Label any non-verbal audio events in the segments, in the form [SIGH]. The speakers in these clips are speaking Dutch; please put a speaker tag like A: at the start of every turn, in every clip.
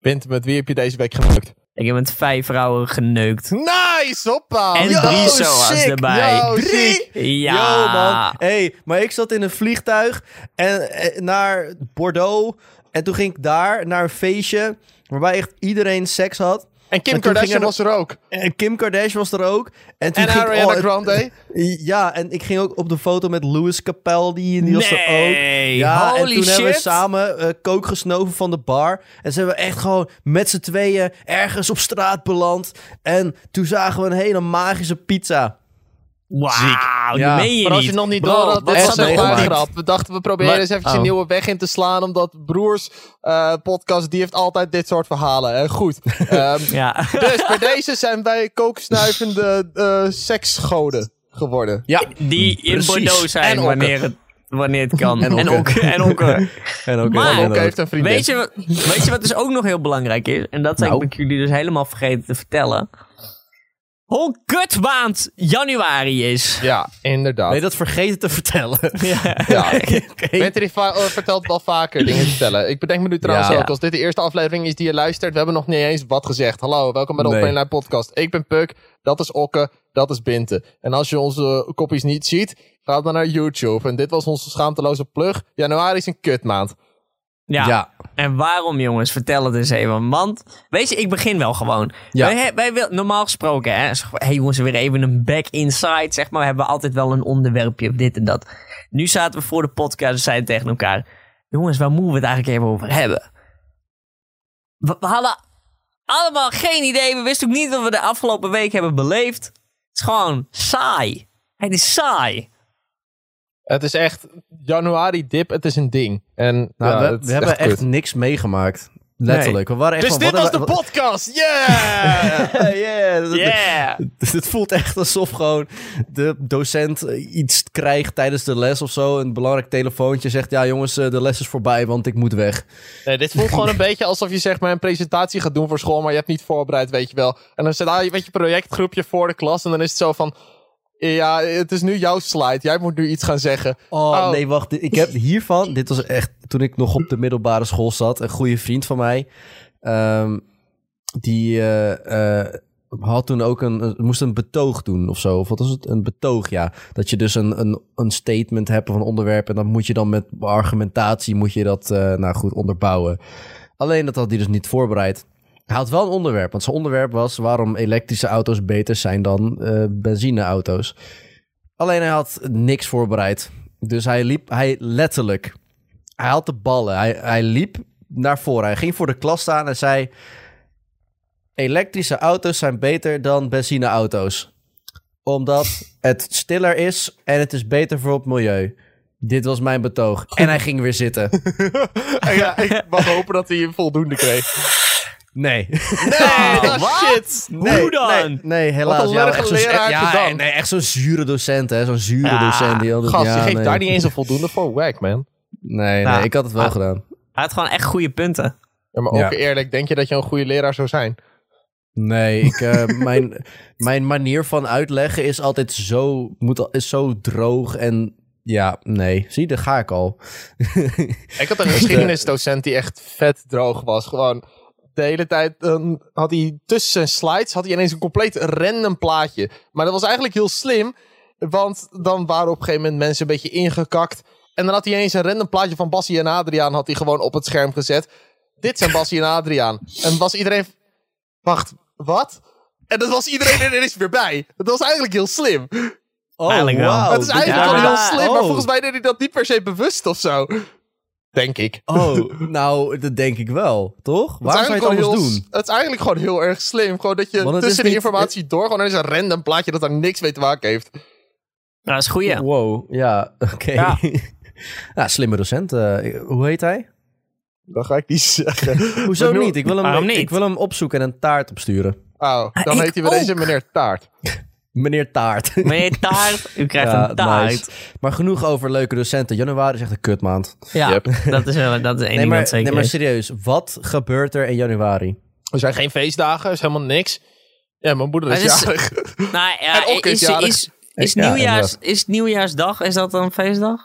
A: Winter, met wie heb je deze week gemaakt?
B: Ik heb met vijf vrouwen geneukt.
A: Nice, hoppa!
B: En
A: Yo,
B: drie soa's
A: sick.
B: erbij.
A: Yo,
C: Drie?
A: sick.
B: Ja.
C: Yo man, hey, maar ik zat in een vliegtuig en, eh, naar Bordeaux en toen ging ik daar naar een feestje waarbij echt iedereen seks had.
A: En Kim
C: Maar toen
A: Kardashian
C: ging er-
A: was er ook.
C: En Kim Kardashian was er ook. En, toen
A: En
C: ging ik- oh,
A: Ariana
C: het-
A: Grande.
C: Ja, en ik ging ook op de foto met Louis Capaldi en die was er ook.
B: Nee,
C: Ja, en
B: holy
C: toen hebben we
B: shit.
C: samen eh, kook gesnoven van de bar. En ze hebben we echt gewoon met z'n tweeën ergens op straat beland. En toen zagen we een hele magische pizza.
B: Wauw, dat meen je
A: maar als
B: niet.
A: je nog niet
B: Bro,
A: door had,
B: wat
A: dit
B: zat
A: was
B: er
A: een
B: gewoon
A: goede
B: in?
A: grap. We dachten, we proberen
C: Maar-
A: eens eventjes een
C: oh.
A: nieuwe weg in te slaan, omdat Broers eh, podcast, die heeft altijd dit soort verhalen. Eh, [LAUGHS] goed. Ehm,
B: Ja. [LAUGHS]
A: dus bij deze zijn wij kooksnuivende eh seksgoden geworden.
C: Ja.
B: Die in
C: Precies.
B: Bordeaux
A: En
B: zijn
A: okken.
B: wanneer het, wanneer het
A: [LAUGHS]
B: kan.
C: En
B: En
C: okken.
B: okken. En okken.
C: En ook
B: Maar-
C: en ook.
A: Ook heeft een vriendin.
B: Weet je, wat- weet je wat dus ook nog heel belangrijk is? En dat zijn
C: Nou.
B: ik jullie dus helemaal vergeten te vertellen. Hoe kut maand januari is. [LAUGHS]
A: Ja, inderdaad.
C: Nee, dat vergeten te vertellen.
A: [LAUGHS]
B: [LAUGHS]
A: Ja.
C: Oké.
A: Winter heeft va- eh, vertelt wel vaker dingen te vertellen. Ik bedenk me nu trouwens
C: Ja.
A: ook, als dit de eerste aflevering is die je luistert, we hebben nog niet eens wat gezegd. Hallo, welkom bij de
C: Nee.
A: Open Lijn podcast. Ik ben Puk, dat is Okke, dat is Binte. En als je onze kopjes niet ziet, ga dan naar YouTube. En dit was onze schaamteloze plug. Januari is een kutmaand.
B: Ja. En waarom, jongens? Vertel het eens even. Want, weet je, ik begin wel gewoon.
C: Ja.
B: Wij, he- wij wil, normaal gesproken, hè. zeg maar, hey jongens, weer even een back inside, zeg maar. We hebben altijd wel een onderwerpje op dit en dat. Nu zaten we voor de podcast en zeiden tegen elkaar... Jongens, waar moeten we het eigenlijk even over hebben? We, we hadden allemaal geen idee. We wisten ook niet wat we de afgelopen week hebben beleefd. Het is gewoon saai. Het is
C: [LAUGHS]
B: saai.
A: Het is echt januari dip, het is een ding. En
C: Nou,
A: ja,
C: we-
A: het
C: we
A: is
C: hebben
A: echt
C: echt,
A: kut.
C: niks meegemaakt. Letterlijk. We waren echt
A: Dus
C: van,
A: dit was
C: wat-
A: de
C: wat-
A: podcast,
C: [LAUGHS]
A: yeah!
C: Ja, dat-
B: Yeah!
C: [LAUGHS] Dus het voelt echt alsof gewoon de docent eh, iets krijgt tijdens de les of zo. Een belangrijk telefoontje zegt, ja jongens, eh, de les is voorbij, want ik moet weg.
A: Nee, dit voelt [LAUGHS] gewoon een beetje alsof je zeg maar een presentatie gaat doen voor school, maar je hebt niet voorbereid, weet je wel. En dan zit je met je projectgroepje voor de klas en dan is het zo van... Ja, het is nu jouw slide. Jij moet nu iets gaan zeggen.
C: Oh,
A: Oh.
C: nee, wacht. Ik heb hiervan, dit was echt toen ik nog op de middelbare school zat. Een goede vriend van mij, ehm, die eh, eh, had toen ook een, een- moest een betoog doen of zo. Of wat was het? Een betoog, ja. Dat je dus een, een, een statement hebt of een onderwerp. En dan moet je dan met argumentatie, moet je dat eh, nou goed onderbouwen. Alleen dat had hij dus niet voorbereid. Hij had wel een onderwerp, want zijn onderwerp was waarom elektrische auto's beter zijn dan eh, benzineauto's. Alleen hij had niks voorbereid. Dus hij liep, hij letterlijk, hij had de ballen. Hij, hij liep naar voren. Hij ging voor de klas staan en zei: Elektrische auto's zijn beter dan benzineauto's. Omdat het stiller is en het is beter voor het milieu. Dit was mijn betoog. En hij ging weer zitten.
A: En [LAUGHS] ja, ik mag hopen dat hij voldoende kreeg. [LAUGHS]
C: Nee.
A: [LAUGHS] Nee,
B: Oh,
A: dat
B: wat?
A: shit!
B: Nee, Hoe dan?
C: Nee, nee, helaas.
A: Wat een
C: ja,
A: lullige
C: echt zo'n-
A: leraar
C: ja,
A: gedaan.
C: nee, echt zo'n zure docent, hè. Zo'n zure
B: Ja,
C: docent. Die altijd,
A: Gast, je
C: ja,
A: geeft
C: nee.
A: daar niet eens een voldoende voor. Wack, man.
C: Nee,
B: Nou,
C: nee, ik had het wel
B: ah.
C: gedaan.
B: Hij had gewoon echt goede punten. Nou,
A: Ja, maar ook
C: Ja.
A: eerlijk, denk je dat je een goede leraar zou zijn?
C: Nee, ik, eh, [LAUGHS] mijn, mijn manier van uitleggen is altijd zo, moet, al- is zo droog en... Ja, nee. Zie, daar ga ik al.
A: Ik had een geschiedenisdocent die echt vet droog was. Gewoon de hele tijd dan had hij tussen zijn slides had hij ineens een compleet random plaatje. Maar dat was eigenlijk heel slim, want dan waren op een gegeven moment mensen een beetje ingekakt. En dan had hij ineens een random plaatje van Bassie en Adriaan had hij gewoon op het scherm gezet. Dit zijn Bassie en Adriaan. En was iedereen... Wacht, wat? En dat was iedereen er ineens weer bij. Dat was eigenlijk heel slim.
C: Oh,
B: Eigenlijk wel.
C: wauw,
A: het is
C: dit
A: eigenlijk
B: ja.
A: wel heel
C: daar-
A: slim, maar
C: oh.
A: volgens mij deed hij dat niet per se bewust of zo. Denk ik. [LAUGHS]
C: Oh, nou, dat denk ik wel. Toch?
A: Het
C: Waarom
A: is
C: zou je het
A: eigenlijk
C: anders
A: gewoon heel-
C: doen?
A: Het is eigenlijk gewoon heel erg slim. Gewoon dat je
C: Want het
A: tussen
C: is
A: de
C: niet-
A: informatie door gewoon er is een random plaatje dat daar niks mee te maken heeft.
B: Nou, dat is goed, ja.
C: Wow, ja, [LAUGHS] oké.
B: Ja.
C: nou, slimme docent. eh, hoe heet hij?
A: Dan ga ik niet [LAUGHS] zeggen.
C: Hoezo
A: We noemen-
C: niet? Ik wil, hem,
B: Waarom niet?
C: ik wil hem opzoeken en een taart opsturen.
A: Oh, dan
B: Ah, ik
A: heet hij bij deze
B: ook.
A: meneer Taart.
C: Meneer Taart.
B: Meneer Taart, u krijgt
C: [LAUGHS] Ja,
B: een taart.
C: nice. Maar genoeg over leuke docenten. Januari is echt een kutmaand.
B: Ja,
A: Yep.
B: [LAUGHS] dat is, wel- dat is één
C: Nee
B: ding
C: maar,
B: dat zeker
C: nee, maar
B: is.
C: serieus. Wat gebeurt er in januari?
A: Er zijn geen feestdagen, er is helemaal niks. Ja, mijn moeder is
B: Het
A: [LAUGHS]
B: is-
A: jarig.
B: Nou ja,
A: En ook
B: is, is,
A: is
B: is, is
C: Ja,
B: nieuwjaars, is Nieuwjaarsdag, is dat een feestdag?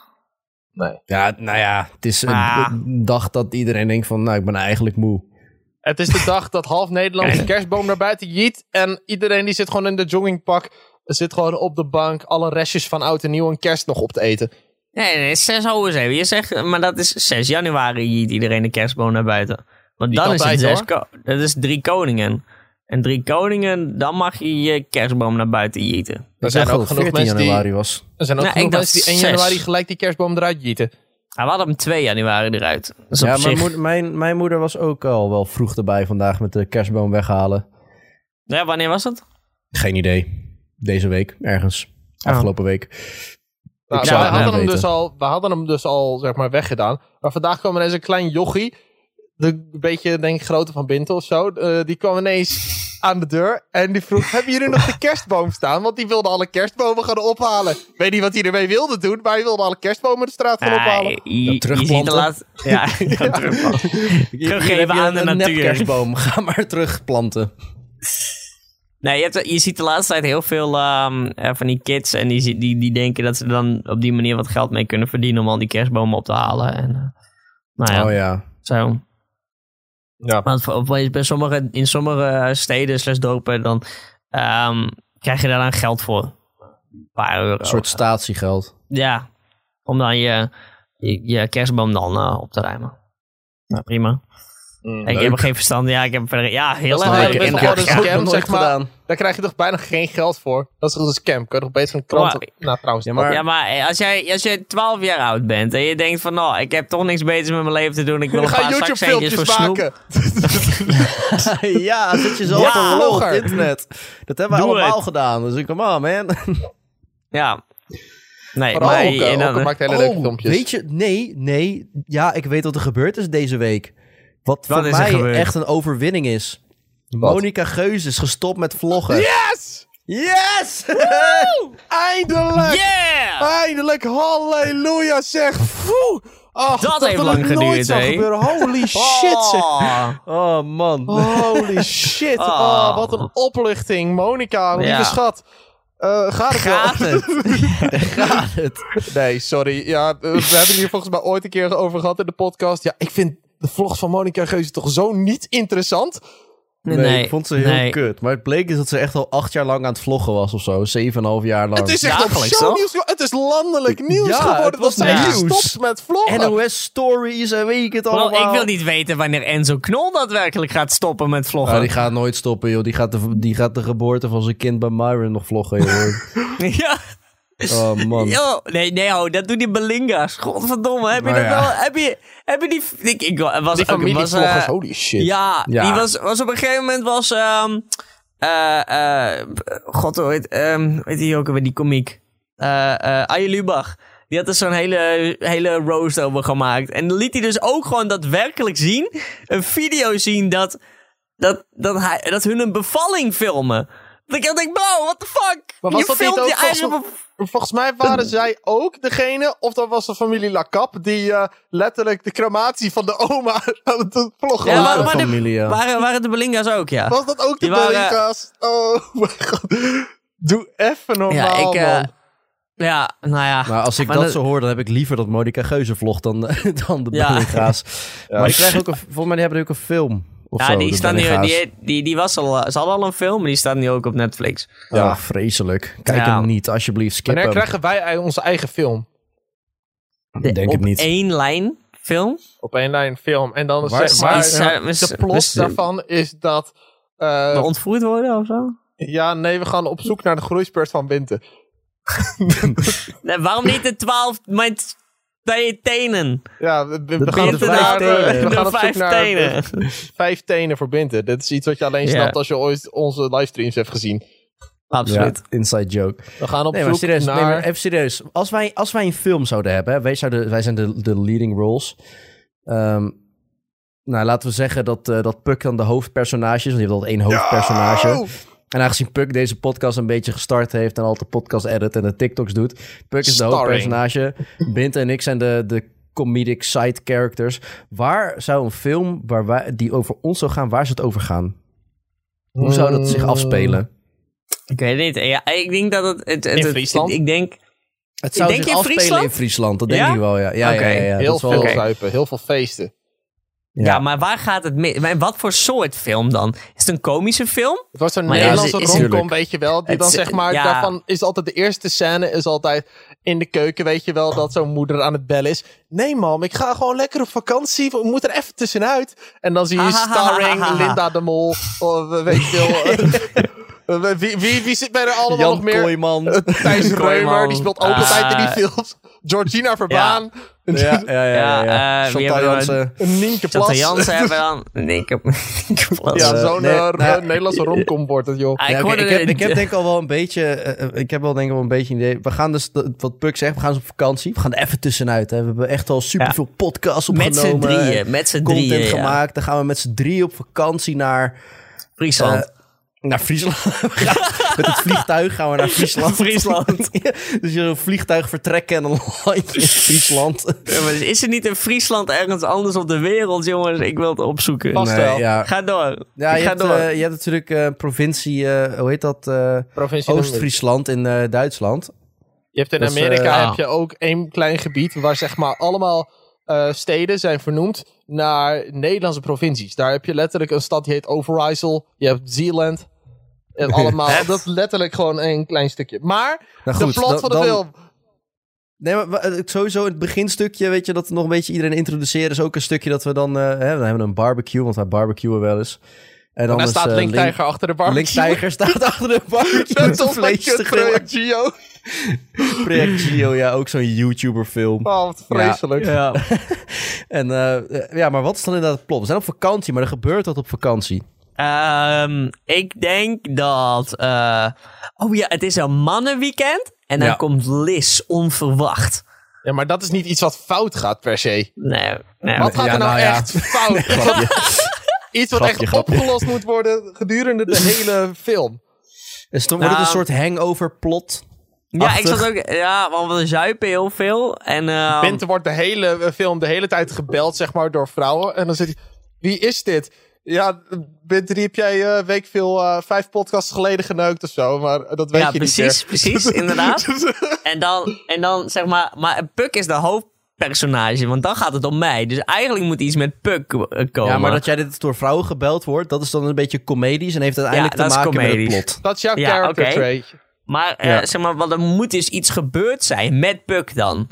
C: Ja, nou ja. Het is een
B: Ah.
C: dag dat iedereen denkt van, nou, ik ben eigenlijk moe.
A: Het is de dag dat half Nederland de kerstboom naar buiten jiet. En iedereen die zit gewoon in de joggingpak. Zit gewoon op de bank alle restjes van oud en nieuw en kerst nog op te eten.
B: Nee, nee, 6 over 7. Je zegt, maar dat is 6 januari jiet iedereen de kerstboom naar buiten. Want
A: Niet
B: dan is het
A: altijd,
B: zes
A: hoor.
B: ko- dat is drie koningen. En drie koningen, dan mag je je kerstboom naar buiten jieten.
A: Er
C: zijn
A: zijn ook genoeg mensen die,
C: januari was.
A: er zijn ook
B: Nou,
A: genoeg
B: ik dacht
A: mensen die 1
B: zes.
A: januari gelijk die kerstboom eruit jieten.
B: Hij had hem 2 januari eruit. Dus
C: Ja,
B: op
C: mijn,
B: zich...
C: moeder, mijn, mijn moeder was ook al wel vroeg erbij vandaag met de kerstboom weghalen.
B: Ja, wanneer was het?
C: Geen idee. Deze week, ergens.
B: Oh.
C: Afgelopen week.
A: Nou,
C: Ik
A: wij,
C: zou het
A: hadden
C: niet
A: hem
C: weten.
A: dus al, we hadden hem dus al zeg maar weggedaan. Maar vandaag kwam ineens een klein jochie. De, een beetje, denk ik, grootte van Bintel of zo. eh, die kwam ineens aan de deur. En die vroeg: Hebben jullie nog de kerstboom staan? Want die wilde alle kerstbomen gaan ophalen. Ik Weet niet wat hij ermee wilde doen. Maar hij wilde alle kerstbomen de straat gaan
B: Ah,
A: ophalen.
B: je- je, ziet de
C: terugplanten.
B: laat... Ja, [LAUGHS] ja. terugplanten. Teruggeven
C: [LAUGHS] Hier heb je
B: aan de
C: een
B: natuur.
C: nepkerstboom. [LAUGHS] Ga maar terugplanten.
B: Nee, je, hebt, je ziet de laatste tijd heel veel ehm, eh, van die kids. En die, zi- die, die denken dat ze dan op die manier wat geld mee kunnen verdienen. om al die kerstbomen op te halen. En, eh, nou ja,
C: Oh ja.
B: zo.
A: Ja.
B: Want voor- op- bij sommige, in sommige eh, steden slash dorpen. dan ehm, krijg je daar dan geld voor. Een paar euro.
C: Een soort statiegeld.
B: Ja, om dan je, je, je kerstboom dan eh, op te ruimen. Nou, prima. ik heb er geen verstand. Ja, ik heb verder. Ja,
A: Dat
B: heel
A: is
B: erg.
A: nou
B: leuk.
A: best
B: En-
A: wel
B: ja,
A: een
B: geld-
A: scam,
C: heb ik nog
A: zeg
C: nooit
A: maar.
C: gedaan.
A: Daar krijg je toch bijna geen geld voor? Dat is toch een scam? Kun je toch beter een krant.
B: Maar-
A: Nou, trouwens.
C: Ja, maar-
B: Ja, maar eh, als jij, als jij 12 jaar oud bent en je denkt van, nou, ik heb toch niks beters met mijn leven te doen,
C: [LAUGHS]
B: ik wil
A: we
B: een
A: gaan
B: paar zakcentjes voor
A: YouTube-filmpjes
B: snoep.
A: maken.
C: [LAUGHS] ja, zit je zo
B: Ja,
C: op een log op
A: logger.
C: het internet. Dat hebben we
B: Doe
C: allemaal
B: het.
C: gedaan. Dus ik, come on, man.
B: Ja.
A: [LAUGHS]
B: Nee,
A: Vooral
B: maar...
C: eh,
A: Okke.
B: inderdaad,
A: Okke maakt hele leuke
C: Oh,
A: filmpjes.
C: weet je, nee, nee. Ja, ik weet wat er gebeurd is deze week. Wat,
B: Wat
C: voor
B: is er
C: mij
B: gebeurd?
C: echt een overwinning is. Monica Geus is gestopt met vloggen.
A: Yes!
C: Yes! [LAUGHS]
A: Eindelijk!
C: Ah,
B: Yeah!
A: Eindelijk, halleluja zeg. Foe. Ach,
B: Dat heeft
A: wil
B: lang
A: ik
B: geduurd,
A: nooit zou
B: hè?
A: gebeuren.
B: [LAUGHS]
A: Holy shit zeg.
C: [LAUGHS]
B: Oh.
C: oh man.
A: Holy shit.
B: Oh.
A: Ah, wat een opluchting. Monica, lieve
B: Ja.
A: schat. Eh gaat het wel?
B: Gaat het?
C: Gaat
B: [LAUGHS]
C: het?
A: [LAUGHS] Nee, sorry. Ja, eh, we hebben hier volgens mij ooit een keer over gehad in de podcast. Ja, ik vind de vlogs van Monica Geuze toch zo niet interessant.
B: Nee,
C: ik vond ze heel
B: nee.
C: kut. Maar het bleek is dat ze echt al acht jaar lang aan het vloggen was of zo. Zeven en een half jaar lang.
A: Het is echt op
B: Dagelijks,
A: shownieuws.
B: toch?
A: nieuws. Het is landelijk nieuws
C: Ja, het
A: geworden dat
C: was
A: zij
B: nieuws.
A: gestopt met vloggen.
C: NOS stories en weet ik het
B: Bro,
C: allemaal.
B: ik wil niet weten wanneer Enzo Knol daadwerkelijk gaat stoppen met vloggen.
C: Ah, die gaat nooit stoppen, joh. Die gaat, de, die gaat de geboorte van zijn kind bij Myron nog vloggen, joh.
B: [LAUGHS] ja.
C: Oh, man.
B: Yo, nee, nee, ho, dat doen die Belinga's. Godverdomme, heb je
C: Nou
B: dat
C: ja.
B: wel? Heb je, heb je die... Ik, ik was,
A: Die
B: ook- was, eh,
A: familievloggers, holy shit.
B: Ja,
C: Ja.
B: die was, was op een gegeven moment was... ehm eh, eh, God, hoe heet, ehm, hoe heet die ook weer, die komiek? Eh eh Arjen Lubach. Die had er zo'n hele, hele roast over gemaakt. En dan liet hij dus ook gewoon daadwerkelijk zien. Een video zien dat, dat, dat, hij, dat hun een bevalling filmen. Dat ik echt denk, bro, what the fuck?
A: Maar was
B: je
A: dat niet
B: filmt
A: ook
B: je eigen...
A: volgens-
B: bev-
A: Volgens mij waren zij ook degene, of dat was de familie Lacap, die eh, letterlijk de crematie van de oma [LAUGHS] aan het vloggen
B: Ja,
A: waren.
B: maar- maar de-
C: familie, ja.
B: Waren, waren de Belinga's ook, ja?
A: Was dat ook de
B: Die waren-
A: collega's? Oh [LAUGHS] mijn god. Doe even normaal,
B: Ja, ik, eh,
A: man.
B: Ja, nou ja.
C: Maar als ik
B: Maar
C: dat,
B: dat-
C: zo hoor, dan heb ik liever dat Monica Geuze vlogt dan, [LAUGHS] eh, dan de
B: Ja.
C: Bellinga's. Maar die
B: [LAUGHS]
C: krijgen ook een, volgens mij die hebben ook een film of
B: Ja,
C: zo,
B: die,
C: de
B: staan nu,
C: Bellinga's.
B: die, die, die was al, eh, ze hadden al een film, maar die staat nu ook op Netflix.
C: Ja, vreselijk. Kijk
B: Ja.
C: hem niet, alsjeblieft. Skip
A: Wanneer
C: hem.
A: krijgen wij onze eigen film?
C: Ik denk
B: op
C: het niet.
B: één lijn film.
A: Op één lijn film. En dan is
C: Waar-
A: zeg
C: waar-
A: maar,
B: Is, eh, mis-
A: de plot
B: mis-
A: daarvan is dat... eh,
B: we ontvoerd worden of zo?
A: ja, nee, we gaan op zoek naar de groeispurt van Winter.
B: Nee, waarom niet de twaalf met twee tenen?
A: Ja, we, we- we
C: De
A: gaan op
C: Binter
A: zoek naar...
C: vijf
A: eh,
C: tenen.
A: We gaan
B: nou De
A: op zoek
B: vijf
A: naar...
B: tenen.
A: vijf tenen verbinden. Dit is iets wat je alleen
B: Ja.
A: snapt als je ooit onze livestreams hebt gezien.
C: Ja,
B: Absoluut.
C: inside joke.
A: We gaan op
C: Nee, maar
A: zoek
C: serieus.
A: naar...
C: nee, maar even serieus. Als wij, als wij een film zouden hebben, hè, wij, zouden, wij zijn de, de leading roles. Ehm, nou, laten we zeggen dat, eh, dat Puck dan de hoofdpersonage is. Want je hebt altijd één hoofdpersonage.
A: Oh!
C: En aangezien Puck deze podcast een beetje gestart heeft en altijd podcast edit en de TikToks doet. Puck is de
A: Starring.
C: hoofdpersonage. Bint en ik zijn de, de comedic side characters. Waar zou een film waar wij, die over ons zou gaan, waar zou het over gaan? Hoe zou dat zich afspelen?
B: Ik weet het niet. Ja, ik denk dat het... het, het-
A: In
B: het-
A: Friesland?
B: Ik denk...
C: Het zou
B: Denk
C: zich
B: je in
C: afspelen
B: Friesland?
C: in Friesland, dat denk
B: Ja?
C: ik wel, ja. ja, ja,
B: Oké,
C: ja, ja. Dat
A: Heel
C: is wel-
A: veel
B: Oké.
A: zuipen, heel veel feesten.
B: Ja. maar waar gaat het mis? Maar Wat voor soort film dan? Is het een komische film?
A: Het was zo'n
B: Maar ja,
A: Nederlandse
B: is- is-
A: romcom,
C: Tuurlijk.
A: weet je wel. Die
B: Het
A: dan
B: is-
A: zeg maar,
B: ja.
A: daarvan is altijd de eerste scène is altijd in de keuken, weet je wel, dat zo'n moeder aan het bellen is. Nee mam, ik ga gewoon lekker op vakantie, we moeten er even tussenuit. En dan zie
B: Ah,
A: je starring Linda de Mol, of eh, weet
B: [LAUGHS]
A: je wel. eh, wie, wie, wie zit bij er allemaal nog
C: Jan
A: meer?
B: [LAUGHS]
C: Kooijman.
A: Eh, Thijs [LAUGHS]
B: Kooijman.
A: Reumer, die speelt ook altijd in
B: Ah.
A: die films. Georgina Verbaan,
C: Ja,
A: [LAUGHS]
C: ja, ja.
B: Ja,
C: ja, ja.
B: eh, wie
C: Chantal
B: hebben we-
C: Jansen.
A: Nienke
B: Chantal
A: Plas.
B: Jansen hebben dan...
A: [LAUGHS]
B: Nee, ik heb... [LAUGHS] ik heb Plas.
A: Ja,
C: Eh,
A: zo'n
C: nee,
A: eh,
C: nou
A: eh,
C: ja.
A: Nederlandse romcom wordt het, joh.
B: Ah,
C: Ja,
B: ik
C: oké,
B: hoorde
C: ik, heb,
B: het-
C: ik heb denk ik al wel een beetje, eh, eh, ik heb wel denk ik wel een beetje een idee. We gaan dus, dat- wat Puck zegt, we gaan dus op vakantie. We gaan er even tussenuit. Hè. We hebben echt al superveel podcasts
B: met
C: opgenomen.
B: z'n
C: en
B: drieën. Met z'n
C: Content
B: drieën, ja.
C: gemaakt. Dan gaan we met z'n drieën op vakantie naar, eh,
B: Friesland.
C: naar Friesland. [LAUGHS] We gaan- met het vliegtuig gaan we naar Friesland.
B: Friesland.
C: Ja, [LAUGHS] dus je een vliegtuig vertrekken en dan [LAUGHS] land je in Friesland.
B: Ja, maar is er niet in Friesland ergens anders op de wereld, jongens? Ik wil het opzoeken.
A: Vast wel.
C: ja.
B: Ga door.
C: Ja,
B: ik
C: je
B: ga
C: hebt,
B: door.
C: eh, je hebt natuurlijk eh, provincie, eh, hoe heet dat? eh,
A: Provincie Limburg.
C: Oost-Friesland in eh, Duitsland.
A: Je hebt in
C: Dat is,
A: Amerika
B: eh,
A: heb je ook één klein gebied waar zeg maar allemaal eh, steden zijn vernoemd naar Nederlandse provincies. Daar heb je letterlijk een stad die heet Overijssel. Je hebt Zeeland. En
C: [LAUGHS]
A: allemaal,
B: Echt?
A: dat is letterlijk gewoon één klein stukje. Maar
C: Nou
A: de
C: goed,
A: plot
C: dan-
A: van de
C: dan-
A: film.
C: Nee, maar wa- eh, sowieso in het beginstukje, weet je, dat we nog een beetje iedereen introduceren, is ook een stukje dat we dan, eh, hè, we hebben een barbecue, want wij barbecuen wel eens. En dan
A: Daar
C: is,
A: staat
C: eh,
A: Link Tiger achter de [LAUGHS]
C: Link
A: barbecue.
C: Tiger staat [LAUGHS] achter de barbecue.
A: Net als bij
C: vlees te
A: Kut
C: grillen.
A: Project Geo.
C: Project Geo, ja, ook zo'n YouTuber-film.
A: Oh, wat vreselijk.
B: Ja.
C: En eh, eh, ja, maar wat is dan inderdaad het plot? We zijn op vakantie, maar er gebeurt wat op vakantie.
B: [LAUGHS] Ehm, ik denk dat... eh, oh ja, het is een mannenweekend. En dan
C: Ja.
B: komt Liz onverwacht.
A: Ja, maar dat is niet iets wat fout gaat per se.
B: Nee, nee.
A: Wat gaat
C: ja,
A: er nou,
C: nou ja.
A: echt fout? [LAUGHS] Iets wat
C: Grapje,
A: echt
C: grapje.
A: opgelost moet worden gedurende de hele film.
C: Is het, wordt het
B: Nou,
C: een soort hangover-plot?
B: Ja, ik
C: Achtig.
B: zat ook... Ja, want we zuipen heel veel. En, ehm,
A: Winter wordt de hele eh, film de hele tijd gebeld, zeg maar, door vrouwen. En dan zit hij, wie is dit? Ja, Winter, die heb jij eh, week veel, eh, vijf podcasts geleden geneukt of zo. Maar dat weet
B: ja,
A: je
B: precies,
A: niet
C: [LAUGHS]
B: precies, inderdaad. En dan, en dan zeg maar, maar Puck is de hoofdpersonage, want dan gaat het om mij. Dus eigenlijk moet iets met Puck eh, komen.
C: Ja, maar dat jij dit door vrouwen gebeld wordt, dat is dan een beetje comedisch en heeft uiteindelijk
B: dat
C: te
B: is
C: maken met het
B: comedisch.
C: plot.
A: [LAUGHS] Dat is jouw
B: Ja,
A: character
B: oké.
A: trait.
B: Maar, eh,
C: Ja.
B: zeg maar, want er moet dus iets gebeurd zijn met Puck dan.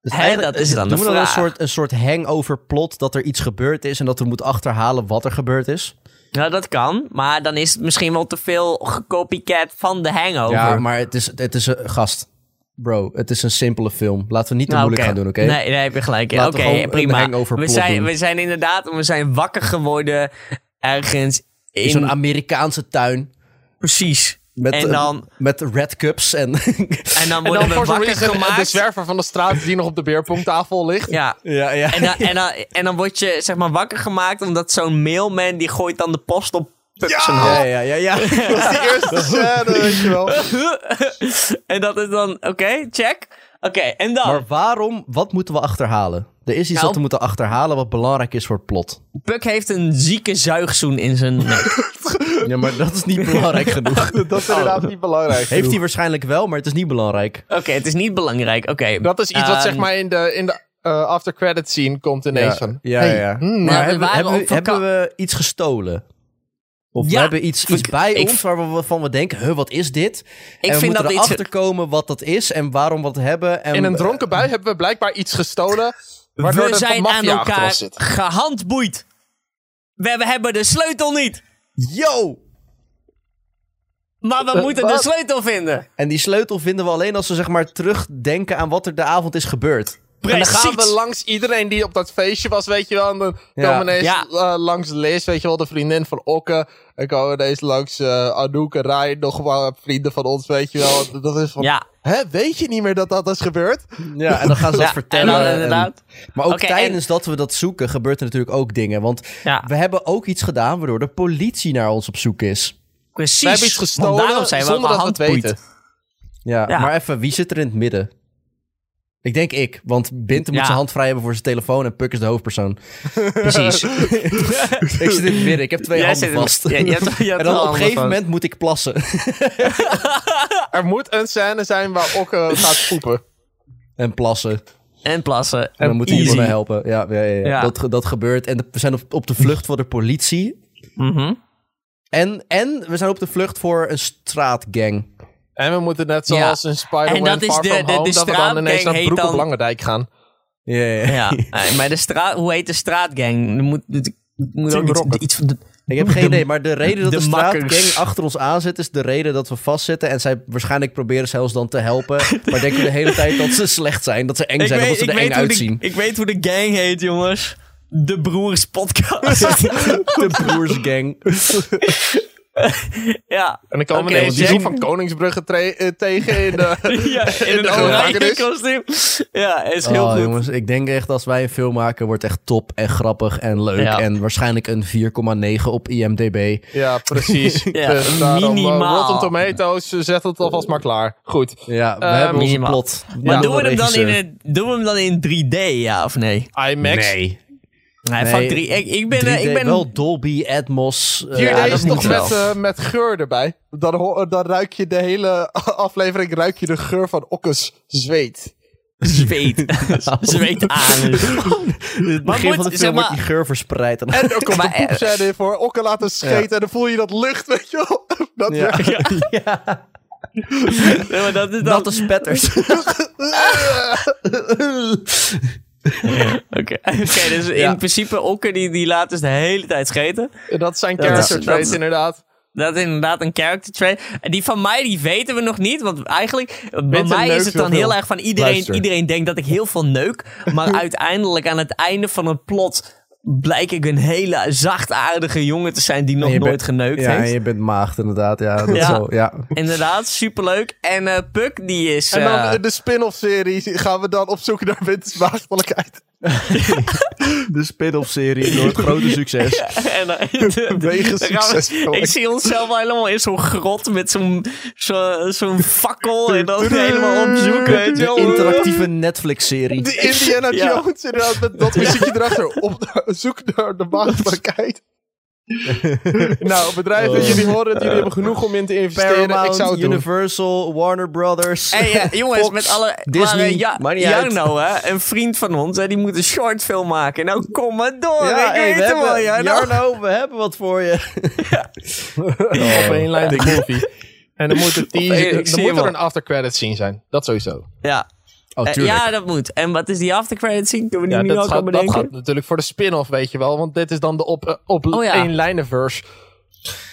C: Dus
B: Hè,
C: eigenlijk-
B: dat is dan de
C: doen we
B: vraag.
C: een soort, een soort hangover plot dat er iets gebeurd is en dat we moeten achterhalen wat er gebeurd is.
B: Nou, dat kan, maar dan is het misschien wel te veel gecopycat van de hangover.
C: Ja, maar het is, het is een gast. Bro, het is een simpele film. Laten we niet te
B: Nou,
C: moeilijk
B: oké.
C: gaan doen, oké?
B: Nee, daar heb je gelijk in. Oké,
C: Laten we gewoon een
B: prima.
C: hangover
B: we,
C: plot
B: zijn,
C: doen.
B: we zijn inderdaad we zijn wakker geworden ergens in...
C: In zo'n Amerikaanse tuin
B: precies.
C: met,
B: en, dan,
C: eh, met red cups en... [LAUGHS]
B: en
A: En
B: dan worden
A: dan
B: we
A: voor zo'n
B: wakker
A: reason eh, de
B: gemaakt.
A: zwerver van de straat die nog op de beerpongtafel ligt.
B: ja,
C: ja, [LAUGHS] ja.
B: En dan, en, dan, en dan word je zeg maar wakker gemaakt omdat zo'n mailman die gooit dan de post op Puck zijn hoofd.
C: ja, ja,
B: [LAUGHS]
C: ja, ja.
A: Dat is [LAUGHS] die eerste scène, weet je wel.
B: [LAUGHS] en dat is dan, oké, check. Oké, en dan,
C: Maar waarom, wat moeten we achterhalen? Er is iets
B: Nou.
C: dat we moeten achterhalen wat belangrijk is voor het plot.
B: Puck heeft een zieke zuigzoen in zijn nek.
C: [LAUGHS] Ja, maar dat is niet belangrijk
A: [LAUGHS]
C: genoeg.
A: Dat
B: Oh.
A: is inderdaad niet belangrijk.
C: Heeft hij waarschijnlijk wel, maar het is niet belangrijk.
B: [LAUGHS] Oké, het is niet belangrijk, oké.
A: Dat is iets wat zeg
B: Ehm,
A: maar in de, in de eh, after credit scene komt ineens van.
C: ja,
A: hey,
C: ja.
A: hmm,
B: Maar
C: Maar
B: nou, we
C: hebben,
B: waren
C: hebben,
B: op vaka-
C: hebben we iets gestolen? Of
B: Ja,
C: we hebben iets, iets
B: ik-
C: bij
B: ik-
C: ons waar we van we denken, huh, wat is dit? en we
B: vind
C: moeten
B: dat we iets
C: erachter komen wat dat is en waarom we dat hebben. En
A: In een dronken bui hebben we blijkbaar iets gestolen. Waardoor
B: we
A: er de
B: zijn aan
A: maffia achter
B: elkaar
A: ons zit.
B: gehandboeid. We, we hebben de sleutel niet,
C: Yo!
B: maar we
A: Eh,
B: moeten
A: wat?
B: de sleutel vinden.
C: En die sleutel vinden we alleen als we zeg maar terugdenken aan wat er de avond is gebeurd.
A: En dan
B: Precies.
A: gaan we langs iedereen die op dat feestje was, weet je wel. En dan
C: Ja.
A: komen we ineens
B: Ja.
A: eh, langs Liz, weet je wel, de vriendin van Okke. En komen we ineens langs eh Anouk en Ryan, nog wel vrienden van ons, weet je wel. Dat is van,
B: Ja,
A: hè, weet je niet meer dat dat is gebeurd?
C: Ja, en dan gaan ze dat
B: Ja,
C: vertellen.
B: En dan
C: en-
B: inderdaad.
C: maar ook
B: Oké, en-
C: tijdens dat we dat zoeken gebeurt er natuurlijk ook dingen. Want
B: Ja.
C: we hebben ook iets gedaan waardoor de politie naar ons op zoek is.
B: Precies.
A: We hebben iets
B: Want
A: gestolen
B: daarom zijn we
A: zonder dat we het
B: gehandboeid.
A: weten.
C: Ja,
B: Ja.
C: maar even, wie zit er in het midden? Ik denk ik, want Binten moet
B: Ja.
C: zijn hand vrij hebben voor zijn telefoon en Puk is de hoofdpersoon.
B: [LAUGHS] Precies.
C: [LAUGHS] Ik zit in het midden, ik heb twee
B: Jij zit
C: handen
B: in het-
C: vast.
B: Ja,
C: [LAUGHS]
B: je hebt- je [LAUGHS] hebt wel
C: en dan op een
B: handen
C: gegeven
B: vast.
C: moment moet ik plassen. [LAUGHS]
A: Er moet een scène zijn waar Okke gaat poepen.
C: en plassen.
B: en plassen.
C: En dan moeten jullie
B: easy.
C: mij helpen. Ja, ja, ja, ja.
B: Ja.
C: Dat, ge- dat gebeurt. En de- we zijn op, op de vlucht voor de politie.
B: Mhm.
C: En, en we zijn op de vlucht voor een straatgang.
A: En we moeten net zoals een
B: En
A: Spider-Man
B: dat is
A: Far
B: de-
A: From
B: de- de
A: Home, dat we dan ineens
B: straatgang
A: naar
B: heet
A: Broek op
B: dan-
A: Langendijk gaan.
C: Ja, ja, ja.
B: Ja,
C: [LAUGHS]
B: eh, maar de straat, hoe heet de straatgang? Er moet, er moet ook
A: Team
B: iets,
A: Rocket.
B: iets van de-
C: Ik heb geen idee, maar de reden dat de,
B: de
C: straatgang
B: makkers.
C: achter ons aan zit... is de reden dat we vastzitten. En zij waarschijnlijk proberen zelfs dan te helpen. maar denken de hele tijd dat ze slecht zijn. Dat ze eng zijn, omdat ze er eng
B: hoe de-
C: uitzien.
B: ik weet hoe de gang heet, jongens. De Broers
A: [LAUGHS]
B: Podcast.
C: De broersgang.
B: ja.
A: En dan komen
B: Oké,
A: we ineens die
B: Jack.
A: zoek van Koningsbrugge tre- eh, tegen [LAUGHS] in de...
B: [LAUGHS]
C: [LAUGHS]
B: ja, in
A: de
B: een oranje
A: gevangenis.
B: kostuum. Ja, is heel
C: dus. Oh,
B: goed.
C: jongens, ik denk echt als wij een film maken... wordt echt top en grappig en leuk.
B: Ja.
C: En waarschijnlijk een 4,9 op IMDb.
A: Ja,
B: [LAUGHS]
A: precies.
B: Ja,
A: Dus daarom, eh,
B: minimaal.
A: Rotten Tomatoes, eh, zet het alvast maar klaar. Goed.
C: Ja, we
A: Eh,
C: hebben onze
B: minimaal.
C: plot.
B: Maar
C: Ja.
B: doen, we hem dan in
C: Regisseur.
B: een, doen we hem dan in 3D, ja of nee?
A: IMAX.
C: Nee.
B: Nee,
C: Nee,
B: fuck drie- ik, ik ben... eh,
C: 3D,
B: ik ben
C: wel Dolby, Atmos. eh,
A: 4D
B: Ja, dat
A: is
B: moet
A: toch
B: wel.
A: met, eh, met geur erbij. Dan, ho- eh, dan ruik je de hele [LAUGHS] aflevering ruik je de geur van Okkes zweet.
C: [LAUGHS]
B: zweet. [LAUGHS] zweet aan.
C: het begin
B: moet-
C: van de
B: zeg
C: film wordt
B: maar-
C: die geur verspreid. En
B: [LAUGHS]
A: En er komt
B: Maar, eh,
A: een poepscène in voor. Okke laat een scheet en dan voel je dat lucht, weet je wel. [LAUGHS] Dat
C: Ja.
A: werkt.
B: Nee, maar dat is dan...
C: natte spetters.
B: [LAUGHS]
C: [LAUGHS]
B: Oké, Oké, dus
C: Ja.
B: in principe Okker die, die laat dus de hele tijd scheten.
A: Dat zijn
C: is-
A: character
B: dat
A: traits
B: is-
A: inderdaad.
B: Dat is inderdaad een character trait. En die van mij, die weten we nog niet. Want eigenlijk, bij
A: Winter
B: mij
A: neukt
B: is het dan
A: heel
B: heel
A: veel.
B: erg van iedereen,
C: Luister.
B: iedereen denkt dat ik heel veel neuk.
C: [LAUGHS]
B: Maar uiteindelijk aan het einde van het plot blijk ik een hele zachtaardige jongen te zijn die nog
C: je
B: nooit
C: bent-
B: geneukt
C: ja, en
B: heeft.
C: je bent maagd inderdaad. [LAUGHS] Ja, dat
B: Ja.
C: Zo, ja.
B: Inderdaad, superleuk. En eh Puck, die is...
A: En dan
B: eh,
A: in de spin-off serie gaan we dan op zoek naar wintersmaagdelijkheid.
C: De spin-off serie door het grote [LAUGHS] succes.
B: [LAUGHS] en, eh, de- de-
A: Wegen
B: dan gaan we-
A: succesvol.
B: Ik zie onszelf wel helemaal in zo'n grot met zo'n zo, zo'n fakkel en
C: [LAUGHS]
B: dan helemaal op zoek, weet je
C: De
B: wel.
C: interactieve
A: [LAUGHS]
C: Netflix-serie.
A: De Indiana
B: Ja.
A: Jones inderdaad, met [LAUGHS] dat muziekje erachter. Op [LAUGHS] zoek naar de [LAUGHS] maagdelijkheid. nou, bedrijven, jullie horen het. Jullie hebben genoeg om in te investeren. ik zou het
C: Paramount,
A: doen.
C: Universal, Warner Brothers.
B: Hey,
C: [LAUGHS]
B: eh, jongens,
C: Fox,
B: met alle...
C: Disney,
B: maar, eh, ja,
C: maakt niet uit.
B: Jarno, hè, een vriend van ons, hè, die moet een shortfilm maken. Nou, kom maar door. ik
C: Ja, hey,
B: weet
C: we
B: het wel,
C: hebben-
B: Jarno.
C: Jarno, we hebben wat voor je.
A: op één lijn de movie. En dan moet, het
B: [LAUGHS] Op één- ik
A: teaser,
B: zie
A: dan
B: hem
A: moet
B: al.
A: er een aftercredit scene zijn. Dat sowieso.
B: Ja.
C: [LAUGHS] Oh,
B: Eh, ja, dat moet. En wat is die aftercredit scene? Kunnen we
A: Ja,
B: die nu
A: dat,
B: al
A: gaat,
B: komen
A: dat
B: bedenken?
A: gaat natuurlijk voor de spin-off, weet je wel. Want dit is dan de op, eh, op
B: Oh ja.
A: één lijnenverse.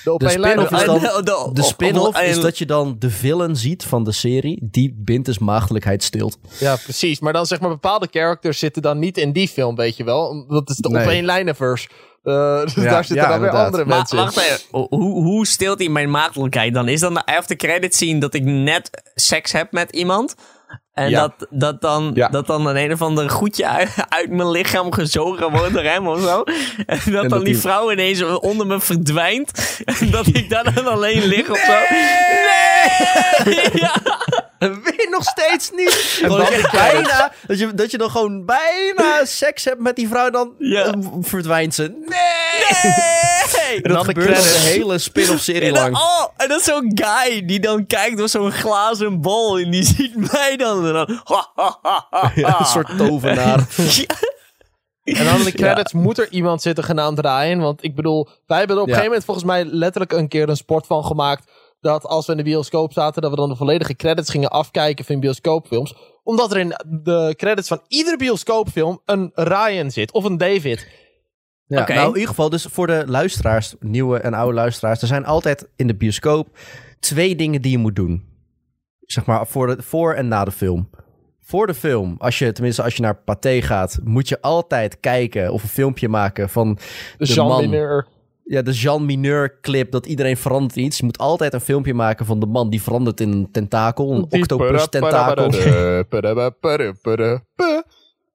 A: De op
C: De
A: één lijnen-
C: spin-off is
B: Eh,
C: dan-
B: de- de-
C: Oh, De spin-off
B: en-
C: is dat je dan de villain ziet van de serie. Die bindt dus maagdelijkheid stilt.
A: Ja, [LAUGHS] precies. Maar dan zeg maar bepaalde characters zitten dan niet in die film, weet je wel. Dat is de
C: Nee.
A: op één lijnenverse. Eh, [LAUGHS] dus
C: Ja,
A: daar zitten dan
C: ja,
A: weer
C: inderdaad.
A: andere
B: Maar
A: mensen in. [LAUGHS]
B: wacht even, ho- hoe, hoe stilt hij mijn maagdelijkheid dan? Is dan de aftercredit scene dat ik net seks heb met iemand? En
A: Ja.
B: dat, dat, dan,
A: Ja.
B: dat dan een een of ander goedje uit, uit mijn lichaam gezogen wordt door hem of zo. En dat dan
C: dat
B: die
C: die-
B: vrouw ineens onder me verdwijnt. En dat ik daar dan alleen lig of zo. Nee! [LAUGHS] Ja.
C: Weer nog steeds niet. [LAUGHS]
A: dan
C: dat,
A: de
C: je bijna, dat, je, dat je dan gewoon bijna seks hebt met die vrouw. Dan
B: Ja.
C: eh, verdwijnt ze. Nee.
B: Nee!
C: En dat
A: Dan de
C: gebeurt dus. al de
A: credits.
C: hele spin-off serie [LAUGHS]
B: En dan,
C: lang.
B: oh, en dat is zo'n guy die dan kijkt door zo'n glazen bol. En die [LAUGHS] ziet mij dan. En dan ha, ha, ha, [LAUGHS] ha,
C: Ja,
B: ha.
C: een soort [LAUGHS] tovenaar.
B: [LAUGHS] Ja.
A: En dan in de credits moet er iemand zitten genaamd Ryan. Want ik bedoel, wij hebben er op
C: Ja.
A: een gegeven moment volgens mij letterlijk een keer een sport van gemaakt. Dat als we in de bioscoop zaten, dat we dan de volledige credits gingen afkijken van bioscoopfilms. Omdat er in de credits van iedere bioscoopfilm een Ryan zit. Of een David.
C: Ja,
B: Oké.
C: Nou, in ieder geval, dus voor de luisteraars, nieuwe en oude luisteraars, er zijn altijd in de bioscoop twee dingen die je moet doen. Zeg maar voor, de, voor en na de film. Voor de film, als je, tenminste als je naar Pathé gaat, moet je altijd kijken of een filmpje maken van
A: De,
C: de
A: Jean
C: man.
A: Mineur.
C: Ja, de Jean Mineur clip, dat iedereen verandert in iets. Je moet altijd een filmpje maken van de man die verandert in een tentakel, een octopus
A: [LAUGHS]
C: tentakel.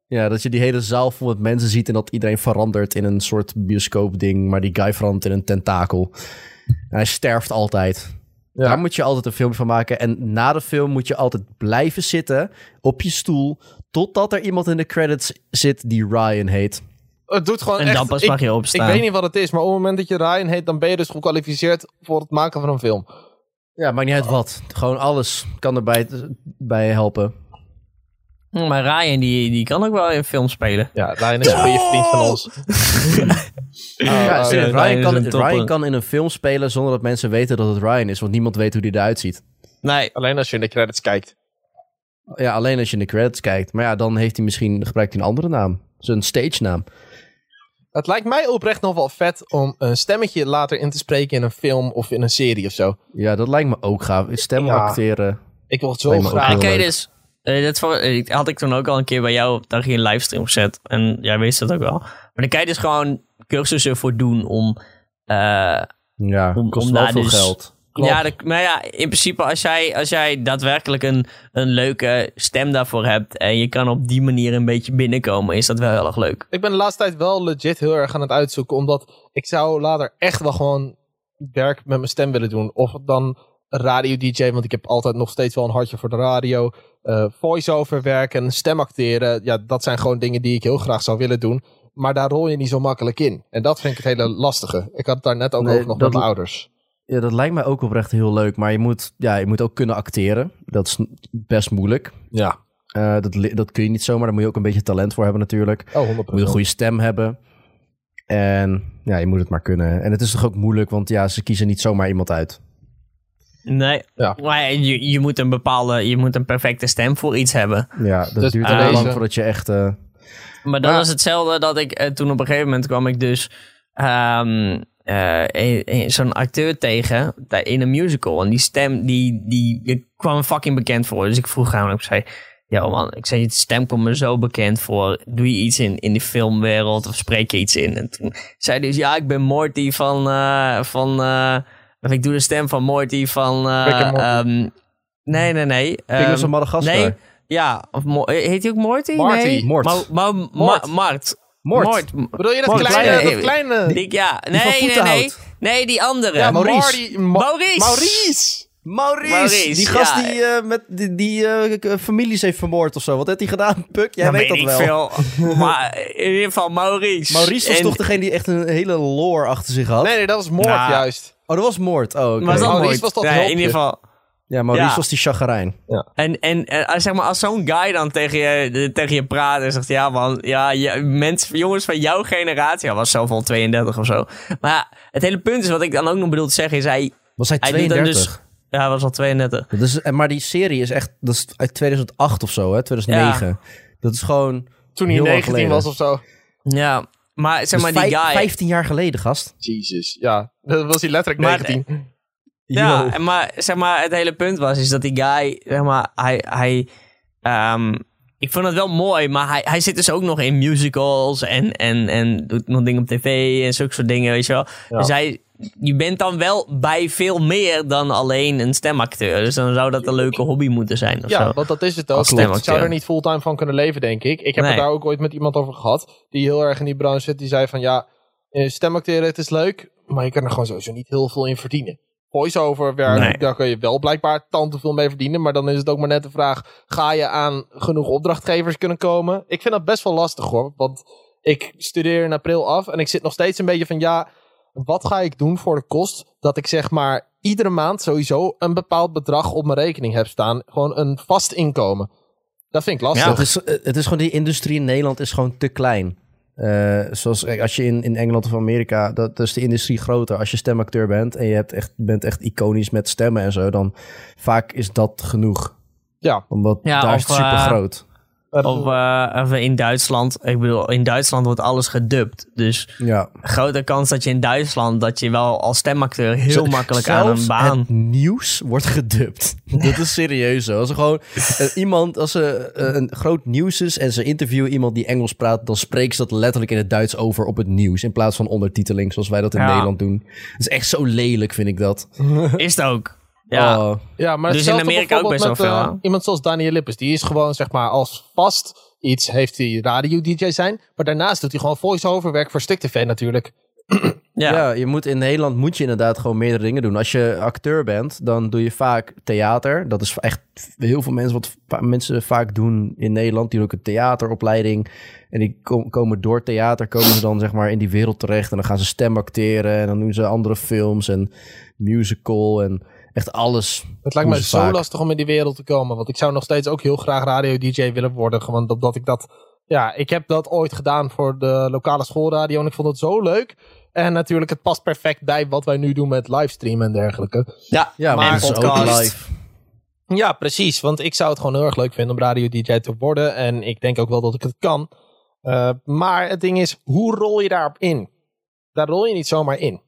C: Ja, dat je die hele zaal vol met mensen ziet en dat iedereen verandert in een soort bioscoopding, maar die guy verandert in een tentakel. En hij sterft altijd.
A: Ja.
C: Daar moet je altijd een filmpje van maken. En na de film moet je altijd blijven zitten op je stoel, totdat er iemand in de credits zit die Ryan heet.
A: Het doet gewoon
B: En
A: echt...
B: dan pas
A: ik,
B: mag je
A: ik
B: opstaan.
A: weet niet wat het is, maar op het moment dat je Ryan heet, dan ben je dus gekwalificeerd voor het maken van een film.
C: eh, Ja, maakt niet uit wat. Gewoon alles kan erbij bij helpen.
B: Hm, Maar Ryan, die, die kan ook wel in film spelen.
A: Ja, Ryan is een goede vriend van ons.
C: Ja,
A: Oh,
C: serieus,
B: Ryan
C: Ryan,
B: is
C: kan,
B: een topper.
C: Ryan kan in een film spelen zonder dat mensen weten dat het Ryan is, want niemand weet hoe die eruit ziet.
B: Nee,
A: Alleen als je in de credits kijkt.
C: Ja, alleen als je in de credits kijkt. Maar ja, dan heeft hij misschien gebruikt hij een andere naam. Zijn stage naam.
A: Het lijkt mij oprecht nog wel vet om een stemmetje later in te spreken in een film of in een serie of zo.
C: Ja, dat lijkt me ook gaaf. Stem
A: Ja.
C: acteren.
A: Ik wil het zo
C: Lijkt me ook
A: graag.
C: heel
B: Oké,
C: leuk.
B: dus. eh, dat voor, eh, had ik toen ook al een keer bij jou daar geen livestream gezet. En jij wist dat ook wel. Maar dan kan je dus gewoon cursussen voor doen om. eh,
C: Ja,
B: Om-
C: kost
B: om
C: wel
B: daar
C: veel
B: dus-
C: geld.
A: Klopt.
B: ja, dat- maar ja, in principe, als jij, als jij daadwerkelijk een, een leuke stem daarvoor hebt. en je kan op die manier een beetje binnenkomen, is dat wel heel erg leuk.
A: Ik ben de laatste tijd wel legit heel erg aan het uitzoeken. Omdat ik zou later echt wel gewoon werk met mijn stem willen doen. Of dan radio-dj, want ik heb altijd nog steeds wel een hartje voor de radio. Eh voice-over werken, stem acteren. Ja, dat zijn gewoon dingen die ik heel graag zou willen doen. Maar daar rol je niet zo makkelijk in. En dat vind ik het hele lastige. Ik had het daar net ook
C: Nee,
A: over nog
C: dat-
A: met mijn ouders.
C: Ja, dat lijkt mij ook oprecht heel leuk. Maar je moet, ja, je moet ook kunnen acteren. Dat is n- best moeilijk.
A: Ja.
C: Eh, dat, li- dat kun je niet zomaar. Daar moet je ook een beetje talent voor hebben natuurlijk.
A: Oh, 100%.
C: Je moet een goede stem hebben. En ja, je moet het maar kunnen. En het is toch ook moeilijk, want ja, ze kiezen niet zomaar iemand uit.
B: Nee.
A: Ja.
B: Maar ja, je, je moet een bepaalde. je moet een perfecte stem voor iets hebben.
C: Ja, dat
A: Dus
C: duurt
B: bij
C: heel lang
A: deze-
C: voordat je echt... eh,
B: Maar dat
A: Maar-
B: was hetzelfde dat ik eh, toen op een gegeven moment kwam ik dus ehm, eh, een- een- zo'n acteur tegen bij- in een musical. En die stem die, die, die kwam me fucking bekend voor. Dus ik vroeg aan hem, ik zei, ja man, ik zei, je stem komt me zo bekend voor. Doe je iets in, in die filmwereld of spreek je iets in? En toen zei hij dus, ja, ik ben Morty van, eh, van eh, of ik doe de stem van Morty van... eh,
A: Rick and Morty.
B: ehm, nee, nee, nee.
C: Pingels van
B: ehm,
C: Madagaskar.
B: Nee, ja. Of Mo- heet hij ook Morty?
A: Marty.
B: Nee.
C: Mort.
B: Ma- ma- ma-
A: Mort.
B: Mart.
C: Mort.
B: Mort.
A: Bedoel je dat
C: Mooi,
A: kleine...
B: kleine-
A: dat kleine...
B: Eh, Die- ja,
C: van
B: nee, nee, nee.
C: Voetenhout.
B: Nee, die andere.
A: Ja,
C: Maurice.
A: Marty- Ma-
B: Maurice.
A: Maurice!
C: Maurice,
B: Maurice,
C: die gast
B: ja.
C: die, eh, met, die, die eh, k- families heeft vermoord of zo. Wat heeft hij gedaan, [LAUGHS] Puk? Jij
B: Ja,
C: weet dat
B: ik
C: wel. [LAUGHS]
B: Veel. maar in ieder geval Maurice.
C: Maurice was
B: En-
C: toch degene die echt een hele lore achter zich had?
A: Nee, nee, dat was Moord
B: Nou,
A: juist.
C: Oh, dat was moord. Oh, oké.
B: Was dat
A: Maurice
B: nooit?
A: was dat
B: Nee,
A: hulpje.
B: in ieder geval.
C: Ja, Maurice
B: Ja.
C: was die chagrijn.
B: En, en, en als, zeg maar, als zo'n guy dan tegen je, de- tegen je praat en zegt: Ja, man, ja, je- mensen, jongens van jouw generatie. Hij was zelf al 32 of zo. Maar ja, het hele punt is, wat ik dan ook nog bedoel te zeggen, is hij.
C: Was hij
B: hij doet dan
C: 32?
B: dus. Ja, hij was al 32.
C: dat is, en maar die serie is echt dat is uit 2008 of zo, hè? 2009. Dat is gewoon
A: Toen hij
C: heel lang
A: 19 was
C: geleden.
A: of zo.
B: Ja, maar zeg
C: dus
B: maar, die
C: vijf-
B: guy.
C: 15 jaar geleden, gast.
A: Jezus, ja. Dat was hij letterlijk
B: Maar-
A: 19.
B: Ja,
C: Yo.
B: en maar zeg maar, het hele punt was is dat die guy, zeg maar, hij. hij ehm, ik vond het wel mooi, maar hij, hij zit dus ook nog in musicals en, en, en doet nog dingen op tv en zulke soort dingen, weet je wel.
A: Ja.
B: Dus hij, je bent dan wel bij veel meer dan alleen een stemacteur. Dus dan zou dat een leuke hobby moeten zijn of
A: ja,
B: zo.
A: want dat is het ook.
B: Als stem
A: Ik zou
B: acteur.
A: er niet fulltime van kunnen leven, denk ik. Ik heb
B: Nee.
A: het daar ook ooit met iemand over gehad. Die heel erg in die branche zit. Die zei van, ja, eh, stemacteren, het is leuk. Maar je kan er gewoon sowieso niet heel veel in verdienen. Voice-over werk,
B: Nee.
A: daar kun je wel blijkbaar tante veel mee verdienen. Maar dan is het ook maar net de vraag, ga je aan genoeg opdrachtgevers kunnen komen? Ik vind dat best wel lastig, hoor. Want ik studeer in april af en ik zit nog steeds een beetje van, ja, wat ga ik doen voor de kost dat ik zeg maar iedere maand sowieso een bepaald bedrag op mijn rekening heb staan? Gewoon een vast inkomen. Dat vind ik
C: Het,
A: lastig.
C: is, eh, het is gewoon, die industrie in Nederland is gewoon te klein. Eh, zoals eh, als je in, in Engeland of Amerika, dat, dat is de industrie groter. Als je stemacteur bent en je hebt echt, bent echt iconisch met stemmen en zo, dan vaak is dat genoeg.
A: Ja.
C: Omdat
B: Ja,
C: daar
B: of, eh,
C: is het super groot.
B: Of, eh, of in Duitsland, ik bedoel, in Duitsland wordt alles gedubt. Dus
C: Ja.
B: grote kans dat je in Duitsland, dat je wel als stemacteur heel
C: Z-
B: makkelijk aan
C: zelfs
B: een baan...
C: Het nieuws wordt
B: [LAUGHS]
C: gedubt. Dat is serieus. hoor. Als er gewoon eh, iemand, als er eh, een groot nieuws is en ze interviewen iemand die Engels praat, dan spreken ze dat letterlijk in het Duits over op het nieuws. In plaats van ondertiteling, zoals wij dat in
B: Ja.
C: Nederland doen. Dat is echt zo lelijk, vind ik dat.
B: Is het ook. Ja.
C: Oh,
A: ja, maar
B: Dus in
A: hetzelfde
B: Amerika ook
A: bijvoorbeeld
B: best wel
A: met,
B: veel,
A: eh,
B: hè?
A: iemand zoals Daniel Lippes, die is gewoon zeg maar als vast iets heeft hij radio-dj zijn. Maar daarnaast doet hij gewoon voice-over werk voor Stuk TV natuurlijk.
B: ja.
C: ja. je moet in Nederland moet je inderdaad gewoon meerdere dingen doen. Als je acteur bent, dan doe je vaak theater. Dat is echt heel veel mensen wat va- mensen vaak doen in Nederland. Die doen ook een theateropleiding. En die kom- komen door theater, komen ze dan zeg maar in die wereld terecht. En dan gaan ze stem acteren. En dan doen ze andere films en musical. En Echt alles.
A: Het lijkt me
C: Doen ze
A: zo
C: vaak.
A: lastig om in die wereld te komen. Want ik zou nog steeds ook heel graag radio-dj willen worden. Gewoon omdat ik dat... Ja, ik heb dat ooit gedaan voor de lokale schoolradio. En ik vond het zo leuk. En natuurlijk, het past perfect bij wat wij nu doen met livestreamen en dergelijke.
B: Ja.
C: Ja,
A: Maar
C: maar, dat is ook
A: podcast.
C: live.
A: Ja, precies. Want ik zou het gewoon heel erg leuk vinden om radio-dj te worden. En ik denk ook wel dat ik het kan. Eh, maar het ding is, hoe rol je daarop in? Daar rol je niet zomaar in.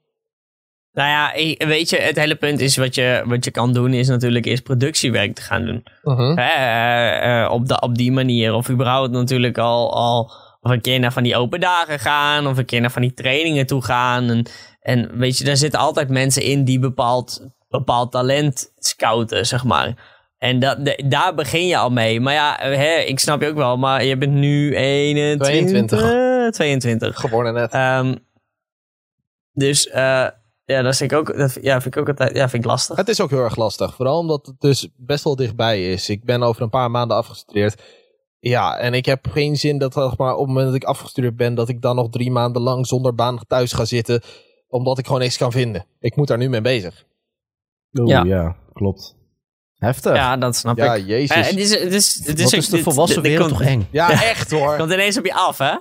B: Nou ja, eh, weet je, het hele punt is wat je, wat je kan doen, is natuurlijk eerst productiewerk te gaan doen.
A: Mhm.
B: Hè, eh, eh, op, da- op die manier. Of überhaupt natuurlijk al, al of een keer naar van die open dagen gaan. Of een keer naar van die trainingen toe gaan. En, en weet je, daar zitten altijd mensen in die bepaald, bepaald talent scouten, zeg maar. En dat, de- daar begin je al mee. Maar ja, eh, hè, ik snap je ook wel. Maar je bent nu Eh, 21. 22.
A: Geworden net.
B: Ehm, dus eh, ja, dat vind ik ook, dat, ja, vind ik ook altijd ja, vind ik lastig.
A: Het is ook heel erg lastig. Vooral omdat het dus best wel dichtbij is. Ik ben over een paar maanden afgestudeerd. Ja, en ik heb geen zin dat zeg maar, op het moment dat ik afgestudeerd ben... dat ik dan nog drie maanden lang zonder baan thuis ga zitten... omdat ik gewoon niks kan vinden. Ik moet daar nu mee bezig.
C: Oeh,
B: Ja.
C: Oh, ja. klopt. Heftig.
B: Ja, dat snap
A: Ja,
B: ik. Eh,
A: jezus.
B: het is, het is, het is,
C: Wat
B: ook-
C: is de
B: dit-
C: volwassen
B: dit- dit
C: wereld
B: komt-
C: toch eng?
A: Ja, echt hoor. [LAUGHS]
B: komt ineens op je af, hè?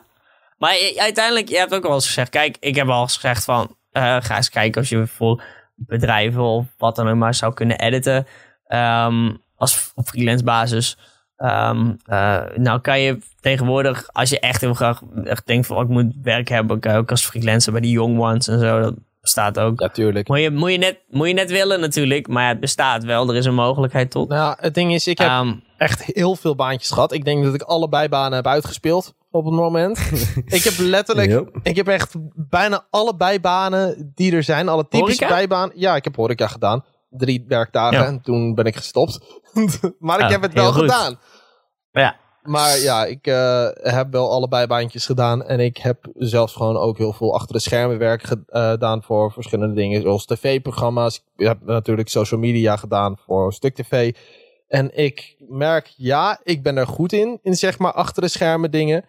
B: Maar je- uiteindelijk, je hebt ook al eens gezegd... Kijk, ik heb al eens gezegd van... eh, ga eens kijken of je voor bedrijven of wat dan ook maar zou kunnen editen. ehm, als op freelance basis. Ehm, eh, nou kan je tegenwoordig, als je echt heel graag echt denkt van... oh, ik moet werk hebben, kan je ook als freelancer bij die Young Ones en zo. Dat bestaat ook.
A: Natuurlijk.
B: Moet je, moet, je net, moet je net willen natuurlijk, maar ja, het bestaat wel. Er is een mogelijkheid tot.
A: Nou, het ding is, ik heb
B: Ehm,
A: echt heel veel baantjes gehad. Ik denk dat ik alle bijbanen heb uitgespeeld op het moment. ik heb letterlijk,
C: Yep.
A: ik heb echt bijna alle bijbanen die er zijn. Alle typische
B: Horeca?
A: bijbaan. Ja, ik heb horeca gedaan. Drie werkdagen
B: Ja.
A: en toen ben ik gestopt. [LAUGHS] maar ik
B: Ah,
A: heb het wel
B: heel goed.
A: gedaan.
B: ja.
A: Maar ja, ik eh, heb wel alle bijbaantjes gedaan. En ik heb zelfs gewoon ook heel veel achter de schermen werk ge- eh, gedaan voor verschillende dingen. Zoals tv-programma's. Ik heb natuurlijk social media gedaan voor Stuk TV. En ik merk, ja, ik ben er goed in. In zeg maar achter de schermen dingen.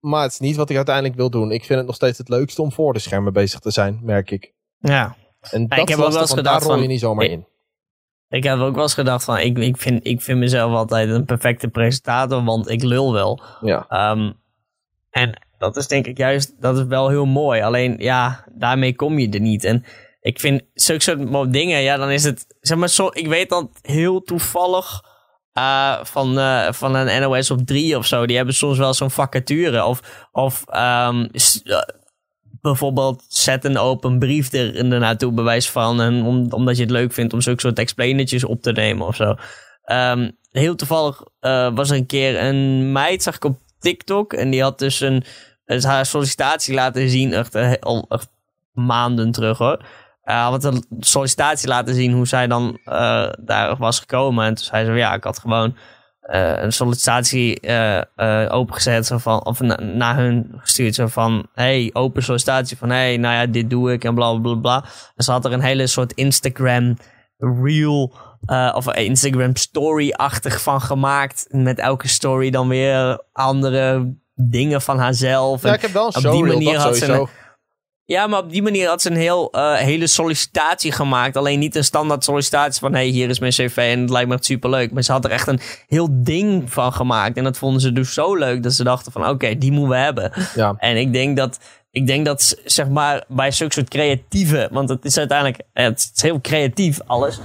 A: Maar het is niet wat ik uiteindelijk wil doen. Ik vind het nog steeds het leukste om voor de schermen bezig te zijn, merk ik.
B: ja.
A: En dat
B: heb
A: is
B: ook wel
A: lastig,
B: eens
A: want daar
B: gedacht
A: rol je
B: van- eh,
A: niet zomaar
B: Ik-
A: in.
B: Ik heb ook wel eens gedacht van, ik, ik, vind, ik vind mezelf altijd een perfecte presentator, want ik lul wel.
A: Ja.
B: Ehm, en dat is denk ik juist, dat is wel heel mooi. Alleen ja, daarmee kom je er niet. En ik vind zulke soort mo- dingen, ja, dan is het, zeg maar, zo, ik weet dat heel toevallig eh, van, eh, van een NOS op 3 of zo, die hebben soms wel zo'n vacature. Of, of ehm, s- eh, bijvoorbeeld zet een open brief er er naartoe, bewijs van, en om, omdat je het leuk vindt om zulke soort explainertjes op te nemen of zo. Ehm, heel toevallig eh, was er een keer een meid, zag ik op TikTok. En die had dus een, dus haar sollicitatie laten zien. Echt, eh, al echt maanden terug hoor. Eh had een sollicitatie laten zien hoe zij dan eh, daar was gekomen. En toen zei ze: Ja, ik had gewoon eh, een sollicitatie eh, eh, opengezet. Zo van, of na- naar hun gestuurd. Zo van: Hey, open sollicitatie. Van hey, nou ja, dit doe ik. En bla bla bla. bla. En ze had er een hele soort Instagram reel eh, of een Instagram story-achtig van gemaakt. Met elke story dan weer andere dingen van haarzelf. En-
A: ja, ik heb wel een
B: op die
A: showreel,
B: manier
A: dat
B: had ze
A: sowieso.
B: ja, maar op die manier had ze een heel, eh, hele sollicitatie gemaakt. Alleen niet een standaard sollicitatie van... hé, hey, hier is mijn cv en het lijkt me echt superleuk. Maar ze had er echt een heel ding van gemaakt. En dat vonden ze dus zo leuk dat ze dachten van... oké, die moeten we hebben.
A: Ja.
B: En ik denk dat, ik denk dat z- zeg maar, bij zulke soort creatieve... want het is uiteindelijk eh, het is heel creatief alles...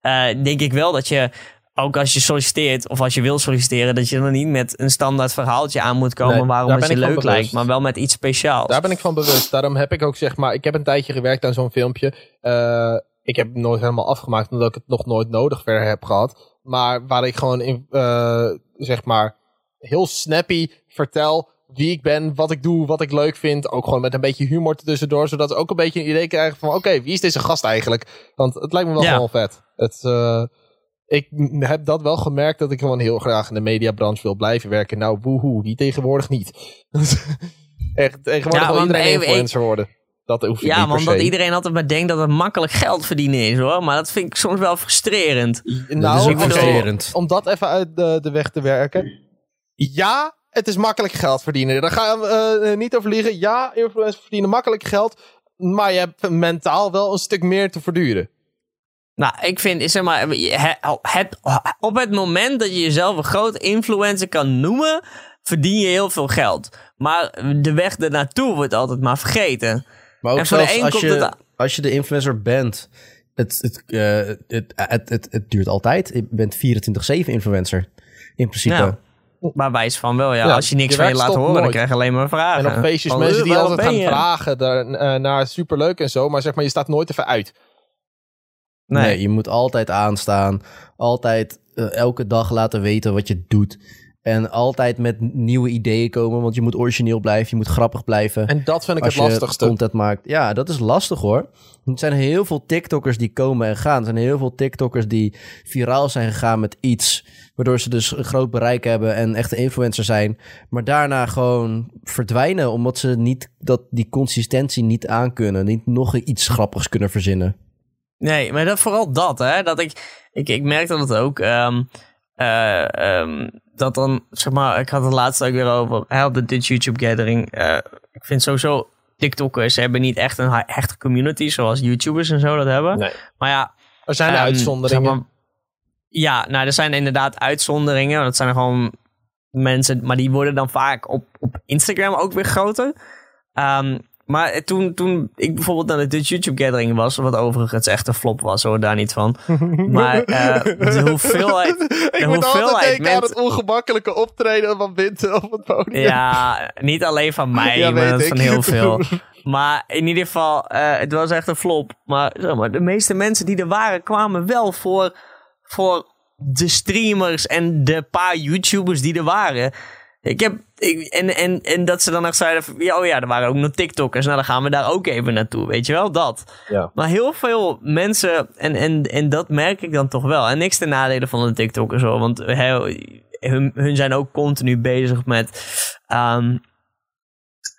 B: eh, denk ik wel dat je, ook als je solliciteert of als je wil solliciteren... dat je dan niet met een standaard verhaaltje aan moet komen...
A: Nee,
B: waarom
A: daar
B: het
A: ben
B: je
A: ik van
B: leuk
A: bewust.
B: lijkt, maar wel met iets speciaals.
A: Daar ben ik van bewust. Daarom heb ik ook zeg maar. Ik heb een tijdje gewerkt aan zo'n filmpje. Eh, ik heb het nooit helemaal afgemaakt omdat ik het nog nooit nodig verder heb gehad. Maar waar ik gewoon in, eh, zeg maar heel snappy vertel wie ik ben, wat ik doe, wat ik leuk vind. Ook gewoon met een beetje humor tussendoor, zodat ze ook een beetje een idee krijgen van: oké, wie is deze gast eigenlijk? Want het lijkt me wel
B: Ja.
A: gewoon vet. Het, eh, ik m- heb dat wel gemerkt dat ik gewoon heel graag in de mediabranche wil blijven werken. Nou, woehoe, wie tegenwoordig niet? [LAUGHS] Echt, tegenwoordig
B: Ja,
A: wil
B: want
A: iedereen
B: even-
A: influencer worden. Dat hoef je
B: Ja,
A: niet
B: maar
A: per
B: omdat
A: se.
B: iedereen altijd maar denkt dat het makkelijk geld verdienen is hoor. Maar dat vind ik soms wel frustrerend.
A: Nou,
C: dat is ook
A: ik bedoel,
C: frustrerend.
A: om dat even uit de, de weg te werken. Ja, het is makkelijk geld verdienen. Daar gaan we eh, niet over liegen. Ja, influencers verdienen makkelijk geld. Maar je hebt mentaal wel een stuk meer te verduren.
B: Nou, ik vind, zeg maar, je- het, het- op het moment dat je jezelf een groot influencer kan noemen, verdien je heel veel geld. Maar de weg ernaartoe wordt altijd maar vergeten.
C: Maar ook
B: En voor de
C: zelfs
B: een
C: als
B: komt
C: je,
B: het aan.
C: als je de influencer bent, het, het, eh, het, het, het, het duurt altijd. Je bent 24-7 influencer, in principe.
B: Ja. Maar wijs van wel, ja.
A: Ja,
B: als je niks
A: je
B: van je
A: werk
B: laat
A: stopt
B: horen, dan
A: nooit.
B: krijg je alleen maar vragen.
A: En op feestjes
B: Van,
A: mensen
B: "Eh,
A: die
B: waarom
A: altijd
B: ben
A: gaan
B: je?"
A: vragen daar, eh, naar superleuk en zo. Maar zeg maar, je staat nooit even uit.
B: Nee.
C: Nee. je moet altijd aanstaan. Altijd eh, elke dag laten weten wat je doet. En altijd met nieuwe ideeën komen, want je moet origineel blijven. Je moet grappig blijven.
A: En dat vind ik
C: als
A: het lastigste.
C: je content maakt. Ja, dat is lastig hoor. Er zijn heel veel TikTokkers die komen en gaan. Er zijn heel veel TikTokkers die viraal zijn gegaan met iets. Waardoor ze dus een groot bereik hebben en echte influencer zijn. Maar daarna gewoon verdwijnen. Omdat ze niet dat, die consistentie niet aankunnen. Niet nog iets grappigs kunnen verzinnen.
B: Nee, maar dat, vooral dat, hè. Dat ik, ik, ik merkte dat ook. ehm, eh, ehm, dat dan, zeg maar, ik had het laatst ook weer over. Hè, op de Dutch YouTube Gathering. eh, ik vind sowieso, TikTokkers hebben niet echt een ha- echte community zoals YouTubers en zo dat hebben.
A: Nee.
B: Maar ja,
A: Er zijn
B: Ehm,
A: uitzonderingen.
B: zeg maar- ja, nou, er zijn inderdaad uitzonderingen. Dat zijn gewoon mensen, maar die worden dan vaak op, op Instagram ook weer groter. Ehm, maar toen, toen ik bijvoorbeeld naar de Dutch YouTube Gathering was, wat overigens echt een flop was, hoor, daar niet
A: [LAUGHS]
B: van. Maar eh, de hoeveelheid...
A: ik
B: de
A: moet altijd
B: hoeveelheid
A: denken aan
B: mensen-
A: het ongemakkelijke optreden van Winter [LAUGHS] op het podium.
B: Ja, niet alleen van
A: [LAUGHS]
B: mij,
A: Ja,
B: maar
A: weet ik.
B: van
A: [LAUGHS]
B: heel veel. Maar in ieder geval, eh, het was echt een flop. Maar, zeg maar de meeste mensen die er waren, kwamen wel voor, voor de streamers en de paar YouTubers die er waren. Ik heb, ik, en, en, en dat ze dan nog zeiden, van, ja, oh ja, er waren ook nog TikTokkers. Nou, dan gaan we daar ook even naartoe, weet je wel, dat.
A: Ja.
B: Maar heel veel mensen, en, en, en dat merk ik dan toch wel. En niks ten nadele van de TikTokkers hoor. Want hij- hun, hun zijn ook continu bezig met, ehm,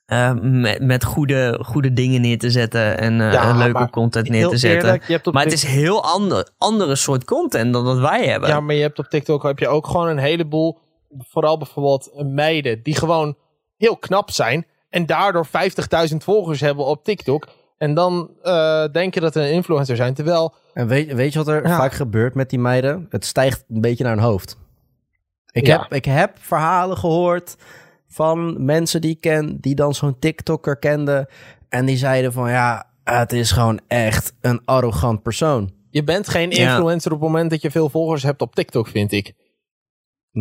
B: eh, met, met goede, goede dingen neer te zetten. En, eh,
A: Ja,
B: en leuke
A: maar
B: content neer te zetten.
A: je hebt op
B: maar het is heel ander, andere soort content dan dat wij hebben.
A: Ja, maar je hebt op TikTok heb je ook gewoon een heleboel, vooral bijvoorbeeld meiden, die gewoon heel knap zijn en daardoor 50.000 volgers hebben op TikTok. En dan eh, denken dat ze een influencer zijn. Terwijl,
C: En weet, weet je wat er
A: Ja.
C: vaak gebeurt met die meiden? Het stijgt een beetje naar hun hoofd. Ik,
A: Ja.
C: heb, ik heb verhalen gehoord van mensen die ik ken, die dan zo'n TikToker kenden. En die zeiden van ja, het is gewoon echt een arrogant persoon.
A: je bent geen
B: Ja.
A: influencer op het moment dat je veel volgers hebt op TikTok, vind ik. Ah,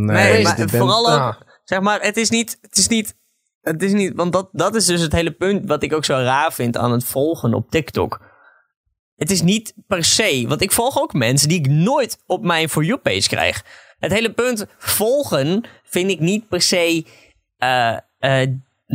B: Nee,
A: Nee, dus
B: maar
C: dit ben-
B: vooral ook,
A: Ja.
B: zeg maar, het is niet, het is niet, het is niet, want dat, dat is dus het hele punt wat ik ook zo raar vind aan het volgen op TikTok. Het is niet per se, want ik volg ook mensen die ik nooit op mijn For You page krijg. Het hele punt volgen vind ik niet per se eh, eh,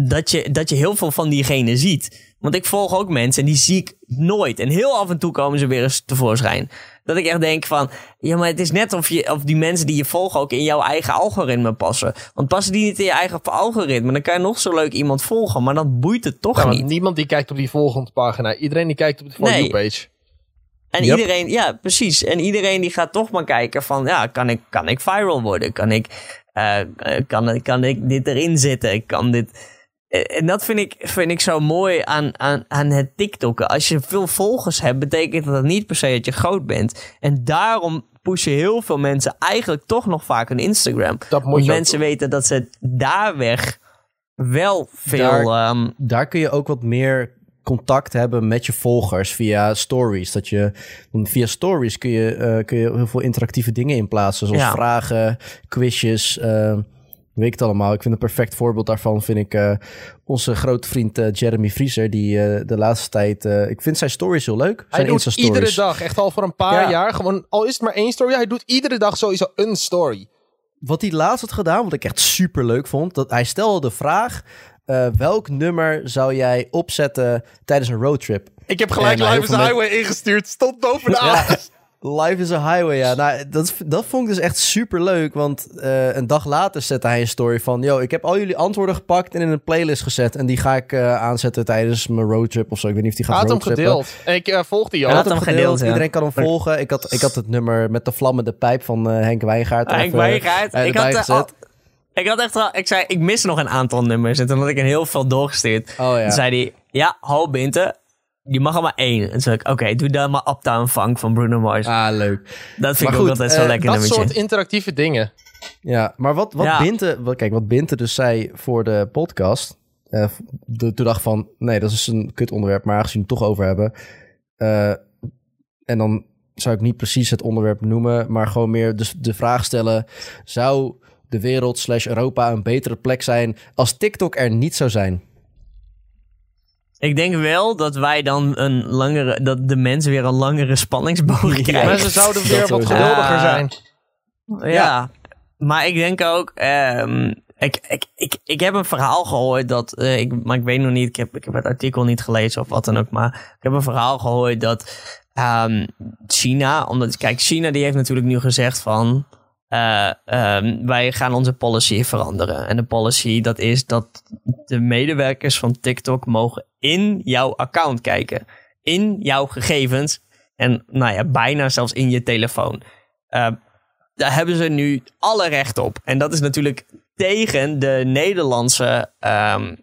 B: dat, je, dat je heel veel van diegene ziet. Want ik volg ook mensen en die zie ik nooit. En heel af en toe komen ze weer eens tevoorschijn. Dat ik echt denk van, ja, maar het is net of, je, of die mensen die je volgen ook in jouw eigen algoritme passen. Want passen die niet in je eigen algoritme, dan kan je nog zo leuk iemand volgen. Maar dan boeit het toch
A: Ja, want
B: niet.
A: niemand die kijkt op die volgende pagina. Iedereen die kijkt op de For You
B: Nee.
A: page.
B: En
C: Yep.
B: iedereen, ja, precies. En iedereen die gaat toch maar kijken van, ja, kan ik, kan ik viral worden? Kan ik, eh, eh, kan, kan ik dit erin zetten? Kan dit... Eh, En dat vind ik, vind ik zo mooi aan, aan, aan het TikTokken. Als je veel volgers hebt, betekent dat niet per se dat je groot bent. En daarom pushen heel veel mensen eigenlijk toch nog vaak hun Instagram.
A: Dat moet
B: Want
A: je ook
B: mensen weten dat ze daar weg wel veel... ehm,
C: daar kun je ook wat meer contact hebben met je volgers via stories. Dat je, want via stories kun je, eh, kun je heel veel interactieve dingen in plaatsen. Zoals
B: Ja.
C: vragen, quizjes, eh, weet ik het allemaal. Ik vind een perfect voorbeeld daarvan vind ik eh, onze grote vriend eh, Jeremy Vriezer. Die eh, de laatste tijd... eh, ik vind zijn stories heel leuk.
A: Hij
C: Zijn
A: doet
C: Insta-stories.
A: iedere dag, echt al voor een paar
C: Ja.
A: jaar, gewoon, al is het maar één story, hij doet iedere dag sowieso een story.
C: Wat hij laatst had gedaan, wat ik echt super leuk vond, dat hij stelde de vraag: eh, welk nummer zou jij opzetten tijdens een roadtrip?
A: Ik heb gelijk
C: Ja, nou,
A: Live is
C: heel veel
A: Highway ingestuurd, stond boven de avond.
C: Life is a highway, ja. Nou, dat, dat vond ik dus echt super leuk. Want eh, een dag later zette hij een story van: Yo, ik heb al jullie antwoorden gepakt en in een playlist gezet. En die ga ik eh, aanzetten tijdens mijn roadtrip of zo. Ik weet niet of die
A: Hij
C: gaat
A: had hem
C: roadtrippen.
A: gedeeld. Ik eh, volgde die
C: Hij
A: al.
C: had hem
B: hem
C: gedeeld.
B: gedeeld, ja.
C: Iedereen kan hem volgen. Ik had, ik had het nummer met de vlammende pijp van eh, Henk Wijngaard. er
B: Henk
C: even,
B: Wijngaard.
C: eh,
B: Ah, Ik
C: erbij
B: had, eh,
C: gezet.
B: al- ik had echt wel, ik zei, ik mis nog een aantal nummers. En toen had ik een heel veel doorgestuurd.
C: Oh ja.
B: Toen zei hij, ja, ho Binte, je mag er maar één. En toen zei ik, oké, doe dan maar Uptown Funk van Bruno Mars.
C: Ah, leuk.
B: dat vind ik
C: maar
B: ook
C: goed,
B: altijd zo
C: eh,
B: lekker
A: Dat
B: nummertje.
A: soort interactieve dingen.
C: Ja, maar wat, wat
B: Ja.
C: Binte, wat, kijk, wat Binte dus zei voor de podcast, eh, v- de, toen dacht van, nee, dat is dus een kut onderwerp, maar aangezien we het toch over hebben, eh, en dan zou ik niet precies het onderwerp noemen, maar gewoon meer de, de vraag stellen, zou de wereld slash Europa een betere plek zijn als TikTok er niet zou zijn?
B: Ik denk wel dat wij dan een langere, dat de mensen weer een langere spanningsboog krijgen.
A: Maar ze zouden weer
C: Dat
A: wat
C: sowieso.
A: geduldiger
B: Ah.
A: zijn.
B: Ja. Maar ik denk ook. ehm, ik, ik, ik, ik heb een verhaal gehoord dat. eh, ik, maar ik weet nog niet. Ik heb, ik heb het artikel niet gelezen of wat dan ook. Maar ik heb een verhaal gehoord dat. ehm, China. Omdat. Kijk, China die heeft natuurlijk nu gezegd van. eh, ehm, wij gaan onze policy veranderen. En de policy dat is dat de medewerkers van TikTok mogen in jouw account kijken. In jouw gegevens. En nou ja, bijna zelfs in je telefoon. Eh, daar hebben ze nu alle recht op. En dat is natuurlijk tegen de Nederlandse. ehm,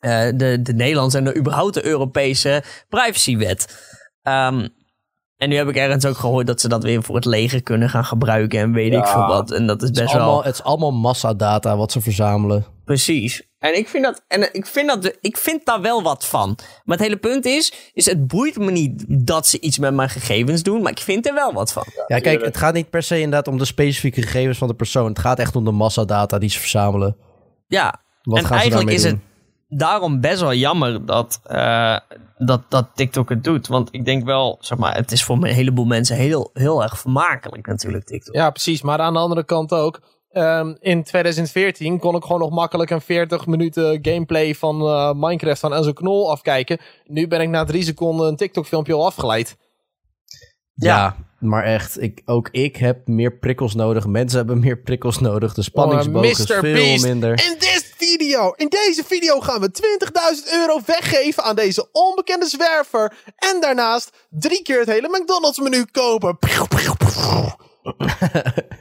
B: eh, de, de Nederlandse en de überhaupt de Europese privacywet. Ehm, en nu heb ik ergens ook gehoord dat ze dat weer voor het leger kunnen gaan gebruiken en weet ik veel wat. En dat is
C: Het
B: best
C: is,
B: wel.
C: allemaal, het is allemaal massadata wat ze verzamelen.
B: Precies. En ik vind dat, en ik vind dat, de- ik vind daar wel wat van. Maar het hele punt is, is het boeit me niet dat ze iets met mijn gegevens doen, maar ik vind er wel wat van.
C: Ja, kijk, het gaat niet per se inderdaad om de specifieke gegevens van de persoon. Het gaat echt om de massadata die ze verzamelen.
B: Ja.
C: Wat
B: en
C: gaan ze
B: eigenlijk
C: daarmee
B: is
C: doen?
B: het daarom best wel jammer dat, eh, dat, dat TikTok het doet. Want ik denk wel, zeg maar, het is voor een heleboel mensen heel, heel erg vermakelijk natuurlijk, TikTok.
A: Ja, precies. Maar aan de andere kant ook. ehm, in 2014 kon ik gewoon nog makkelijk een 40 minuten gameplay van eh, Minecraft van Enzo Knol afkijken. Nu ben ik na drie seconden een TikTok filmpje al afgeleid.
B: Ja.
C: Ja. maar echt, ik, ook ik heb meer prikkels nodig. Mensen hebben meer prikkels nodig. De spanningsboog
B: Oh,
C: is
A: Mr.
C: veel
A: Beast.
C: minder.
A: In dit video, in deze video gaan we 20.000 euro weggeven aan deze onbekende zwerver. En daarnaast drie keer het hele McDonald's menu kopen.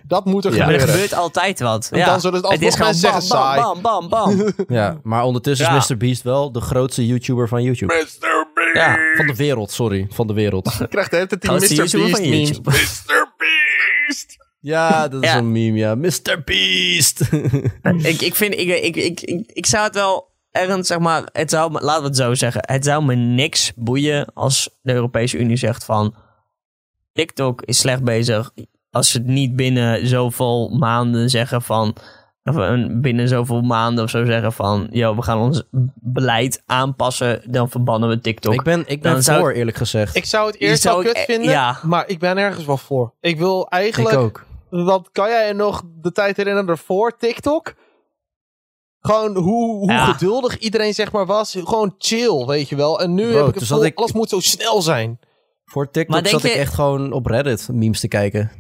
A: Dat moet er
C: Ja.
B: Maar
A: gebeuren.
B: er gebeurt altijd wat.
A: En
B: ja.
A: dan zullen ze alsnog
B: is gewoon
A: mensen
B: bam,
A: zeggen saai.
B: bam, bam, bam, bam.
A: [LAUGHS]
C: Ja, maar ondertussen
B: Ja.
C: is Mr. Beast wel de grootste YouTuber van YouTube.
A: Mr. Beast.
B: ja.
C: Van de wereld, sorry. Van de
B: [LAUGHS]
C: wereld.
A: Ik krijg de hele tijd die
B: Dat is de
A: Mr. Beast
B: YouTuber van
A: memes.
B: YouTube.
A: Mr. Beast.
C: Ja, dat is
B: Ja.
C: een meme, ja. Mr. Beast! [LAUGHS]
B: ik, ik vind, ik, ik, ik, ik, ik zou het wel ergens, zeg maar, het zou, me- laten we het zo zeggen, het zou me niks boeien als de Europese Unie zegt van, TikTok is slecht bezig, als ze het niet binnen zoveel maanden zeggen van, of een- binnen zoveel maanden of zo zeggen van, yo, we gaan ons beleid aanpassen, dan verbannen we TikTok.
C: ik ben, ik
B: Dan
C: ben
B: zou
C: voor, eerlijk gezegd.
A: Ik zou het
B: Die
A: eerst
B: zou
A: wel
B: ik
A: kut
B: e-
A: vinden,
B: ja.
A: maar ik ben ergens wel voor. Ik wil
C: Ik
A: eigenlijk,
C: ook.
A: wat kan jij je nog de tijd herinneren voor TikTok? Gewoon hoe, hoe
B: Ja.
A: geduldig iedereen zeg maar was. Gewoon chill, weet je wel. En nu
C: Bro,
A: heb ik
C: toen
A: het
C: zat
A: vol,
C: ik-
A: alles moet zo snel zijn.
C: Voor
B: Maar
C: TikTok
B: denk
C: zat ik
B: je-
C: echt gewoon op Reddit memes te kijken.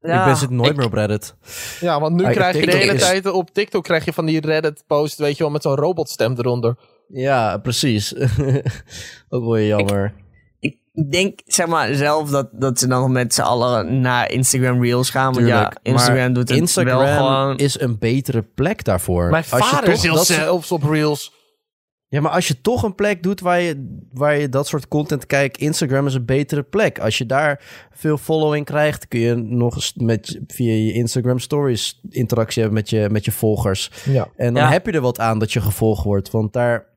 B: Ja,
C: ik ben zit nooit
B: ik-
C: meer op Reddit.
A: Ja, want nu
C: Kijk,
A: krijg je de
C: TikTok
A: hele
C: is-
A: tijd op TikTok krijg je van die Reddit-post, weet je wel, met zo'n robotstem eronder.
C: Ja, precies. [LAUGHS] ook wel jammer.
B: Ik denk zeg maar zelf dat, dat ze dan met z'n allen naar Instagram Reels gaan. Want
C: Tuurlijk,
B: ja, Instagram
C: maar
B: doet het
C: Instagram
B: wel gewoon.
C: is een betere plek daarvoor.
A: Mijn
C: Als je
A: vader
C: toch
A: zit
C: dat soort-
A: zelfs op Reels.
C: Ja, maar als je toch een plek doet waar je, waar je dat soort content kijkt, Instagram is een betere plek. Als je daar veel following krijgt, kun je nog eens met, via je Instagram stories interactie hebben met je, met je volgers.
A: Ja.
C: En dan
B: Ja.
C: heb je er wat aan dat je gevolgd wordt. Want daar,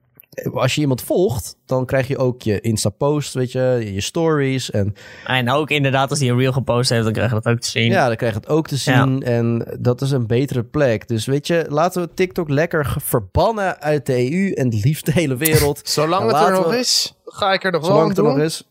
C: als je iemand volgt, dan krijg je ook je Insta-post, weet je, je stories. En
B: En ook inderdaad, als hij een reel gepost heeft, dan krijg je dat ook te zien.
C: Ja, dan krijg je het ook te zien. En dat is een betere plek. Dus weet je, laten we TikTok lekker ge- verbannen uit de EU en het liefst de hele wereld.
A: [LAUGHS] Zolang
C: Ja,
A: het er
C: laten
A: nog
C: we-
A: is, ga ik er nog wel
C: Zolang
A: aan
C: het er
A: doen.
C: nog is.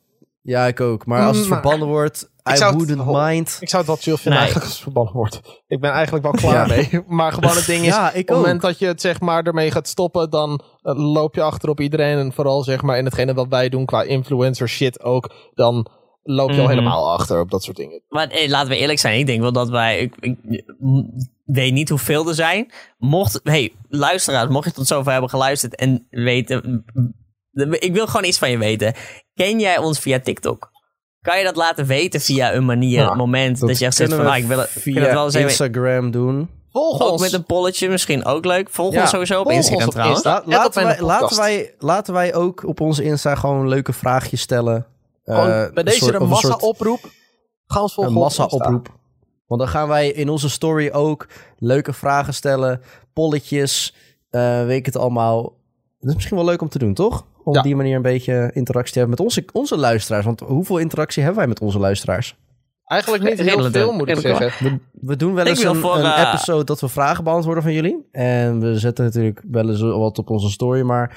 C: Ja, ik ook. Maar als het
A: Maar-
C: verbannen wordt, I
A: zou het-
C: wouldn't mind.
A: Ik zou het wel chill vinden
B: Nee.
A: eigenlijk als het verbannen wordt. Ik ben eigenlijk [LAUGHS] wel klaar
C: Ja.
A: mee. Maar gewoon het ding is,
C: Ja,
A: op
C: ik
A: het moment
C: ook.
A: dat je het zeg maar ermee gaat stoppen, dan eh, loop je achter op iedereen. En vooral zeg maar in hetgene wat wij doen qua influencer shit ook, dan loop je al
B: Mhm.
A: helemaal achter op dat soort dingen.
B: Maar eh, laten we eerlijk zijn, ik denk wel dat wij. Ik, ik m- weet niet hoeveel er zijn. Mocht. Hey, luisteraars, mocht je tot zover hebben geluisterd en weten. m- Ik wil gewoon iets van je weten. Ken jij ons via TikTok? Kan je dat laten weten via een manier,
A: Ja,
B: een moment dat, je echt zegt van,
C: kunnen
B: ah,
C: we
B: ik wil het, ik wil het
C: via
B: wel eens even-
C: Instagram doen.
A: Volg
B: Ook
A: ons.
B: met een polletje misschien ook leuk. Volg
C: Ja,
B: ons sowieso op
A: volg ons
B: Instagram
A: op
B: trouwens.
A: Insta.
C: La-
A: En op
C: laten,
A: mijn
C: wij, laten,
A: podcast. Eh,
C: wij, laten wij ook op onze Insta gewoon leuke vraagjes stellen.
A: Gewoon
C: Eh,
A: bij
C: een
A: deze
C: soort-
A: een
C: of een soort-
A: massa-oproep. Ga ons volgen.
C: Een
A: op
C: massa-oproep. Want dan gaan wij in onze story ook leuke vragen stellen, polletjes, eh, weet ik het allemaal. Dat is misschien wel leuk om te doen, toch? Om
A: Ja.
C: op die manier een beetje interactie te hebben met onze, onze luisteraars. Want hoeveel interactie hebben wij met onze luisteraars?
A: Insta. Eigenlijk niet heel
B: Redelijk
A: veel,
B: wel.
A: moet ik
B: Redelijk wel.
A: zeggen.
C: We, we doen wel
B: Ik
C: eens
B: wil
C: een,
B: voor,
C: een
B: eh,
C: episode dat we vragen beantwoorden van jullie. En we zetten natuurlijk wel eens wat op onze story. Maar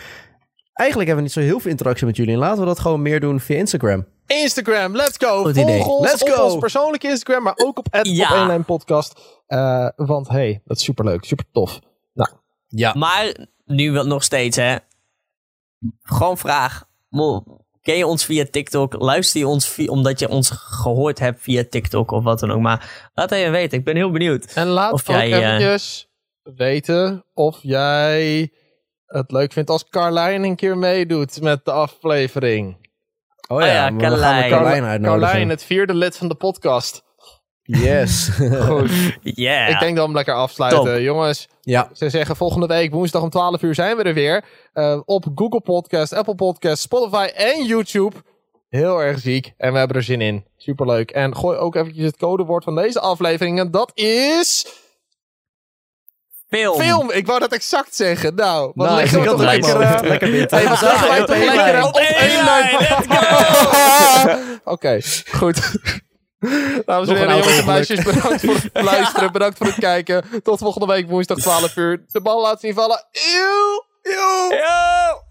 C: eigenlijk hebben we niet zo heel veel interactie met jullie. En laten we dat gewoon meer doen via Instagram.
A: Instagram, let's go.
C: Goed
A: Volg
C: idee.
A: ons
C: Let's
A: op
C: go.
A: ons persoonlijke Instagram, maar ook op het
B: [LAUGHS] Ja.
A: podcast. Eh, want hey, dat is superleuk, super tof.
C: Ja.
B: Maar nu wel nog steeds, hè. Gewoon vraag. Mo, Ken je ons via TikTok? Luister je ons vi- omdat je ons gehoord hebt via TikTok of wat dan ook. Maar laat even weten. Ik ben heel benieuwd.
A: En laat
B: Of
A: ook
B: jij, eh,
A: eventjes weten of jij het leuk vindt als Carlijn een keer meedoet met de aflevering.
C: Oh
B: ja,
C: ja, maar we gaan
B: Carlijn.
C: de Carlijn uitnodigen.
A: Carlijn, het vierde lid van de podcast.
C: Yes. [LAUGHS]
A: Goed,
B: Yeah.
A: ik denk dat we hem lekker afsluiten. Jongens,
C: ja.
A: Ze zeggen volgende week woensdag om 12 uur zijn we er weer. Eh, op Google Podcast, Apple Podcast, Spotify en YouTube. Heel erg ziek. En we hebben er zin in. Superleuk. En gooi ook eventjes het codewoord van deze aflevering. En dat is...
B: film.
A: Film. Ik wou dat exact zeggen. Nou, wat
C: Nou,
A: liggen we
C: ik had
A: toch
C: het
A: lekker...
C: ook al.
A: eh,
C: Lekker bitter.
A: hey, we zagen wij
B: [LAUGHS] Ja,
A: toch
B: op één
A: lekker
B: lijn.
A: op één lijn.
B: let's go!
A: [LAUGHS] Oké, goed. Dames en
C: een
A: heren, jongens en
C: auto-ongeluk.
A: meisjes, bedankt voor het luisteren. Bedankt voor het kijken. Tot volgende week woensdag 12 uur. De bal laat zien vallen. Eeuw! Eeuw!
B: Yo!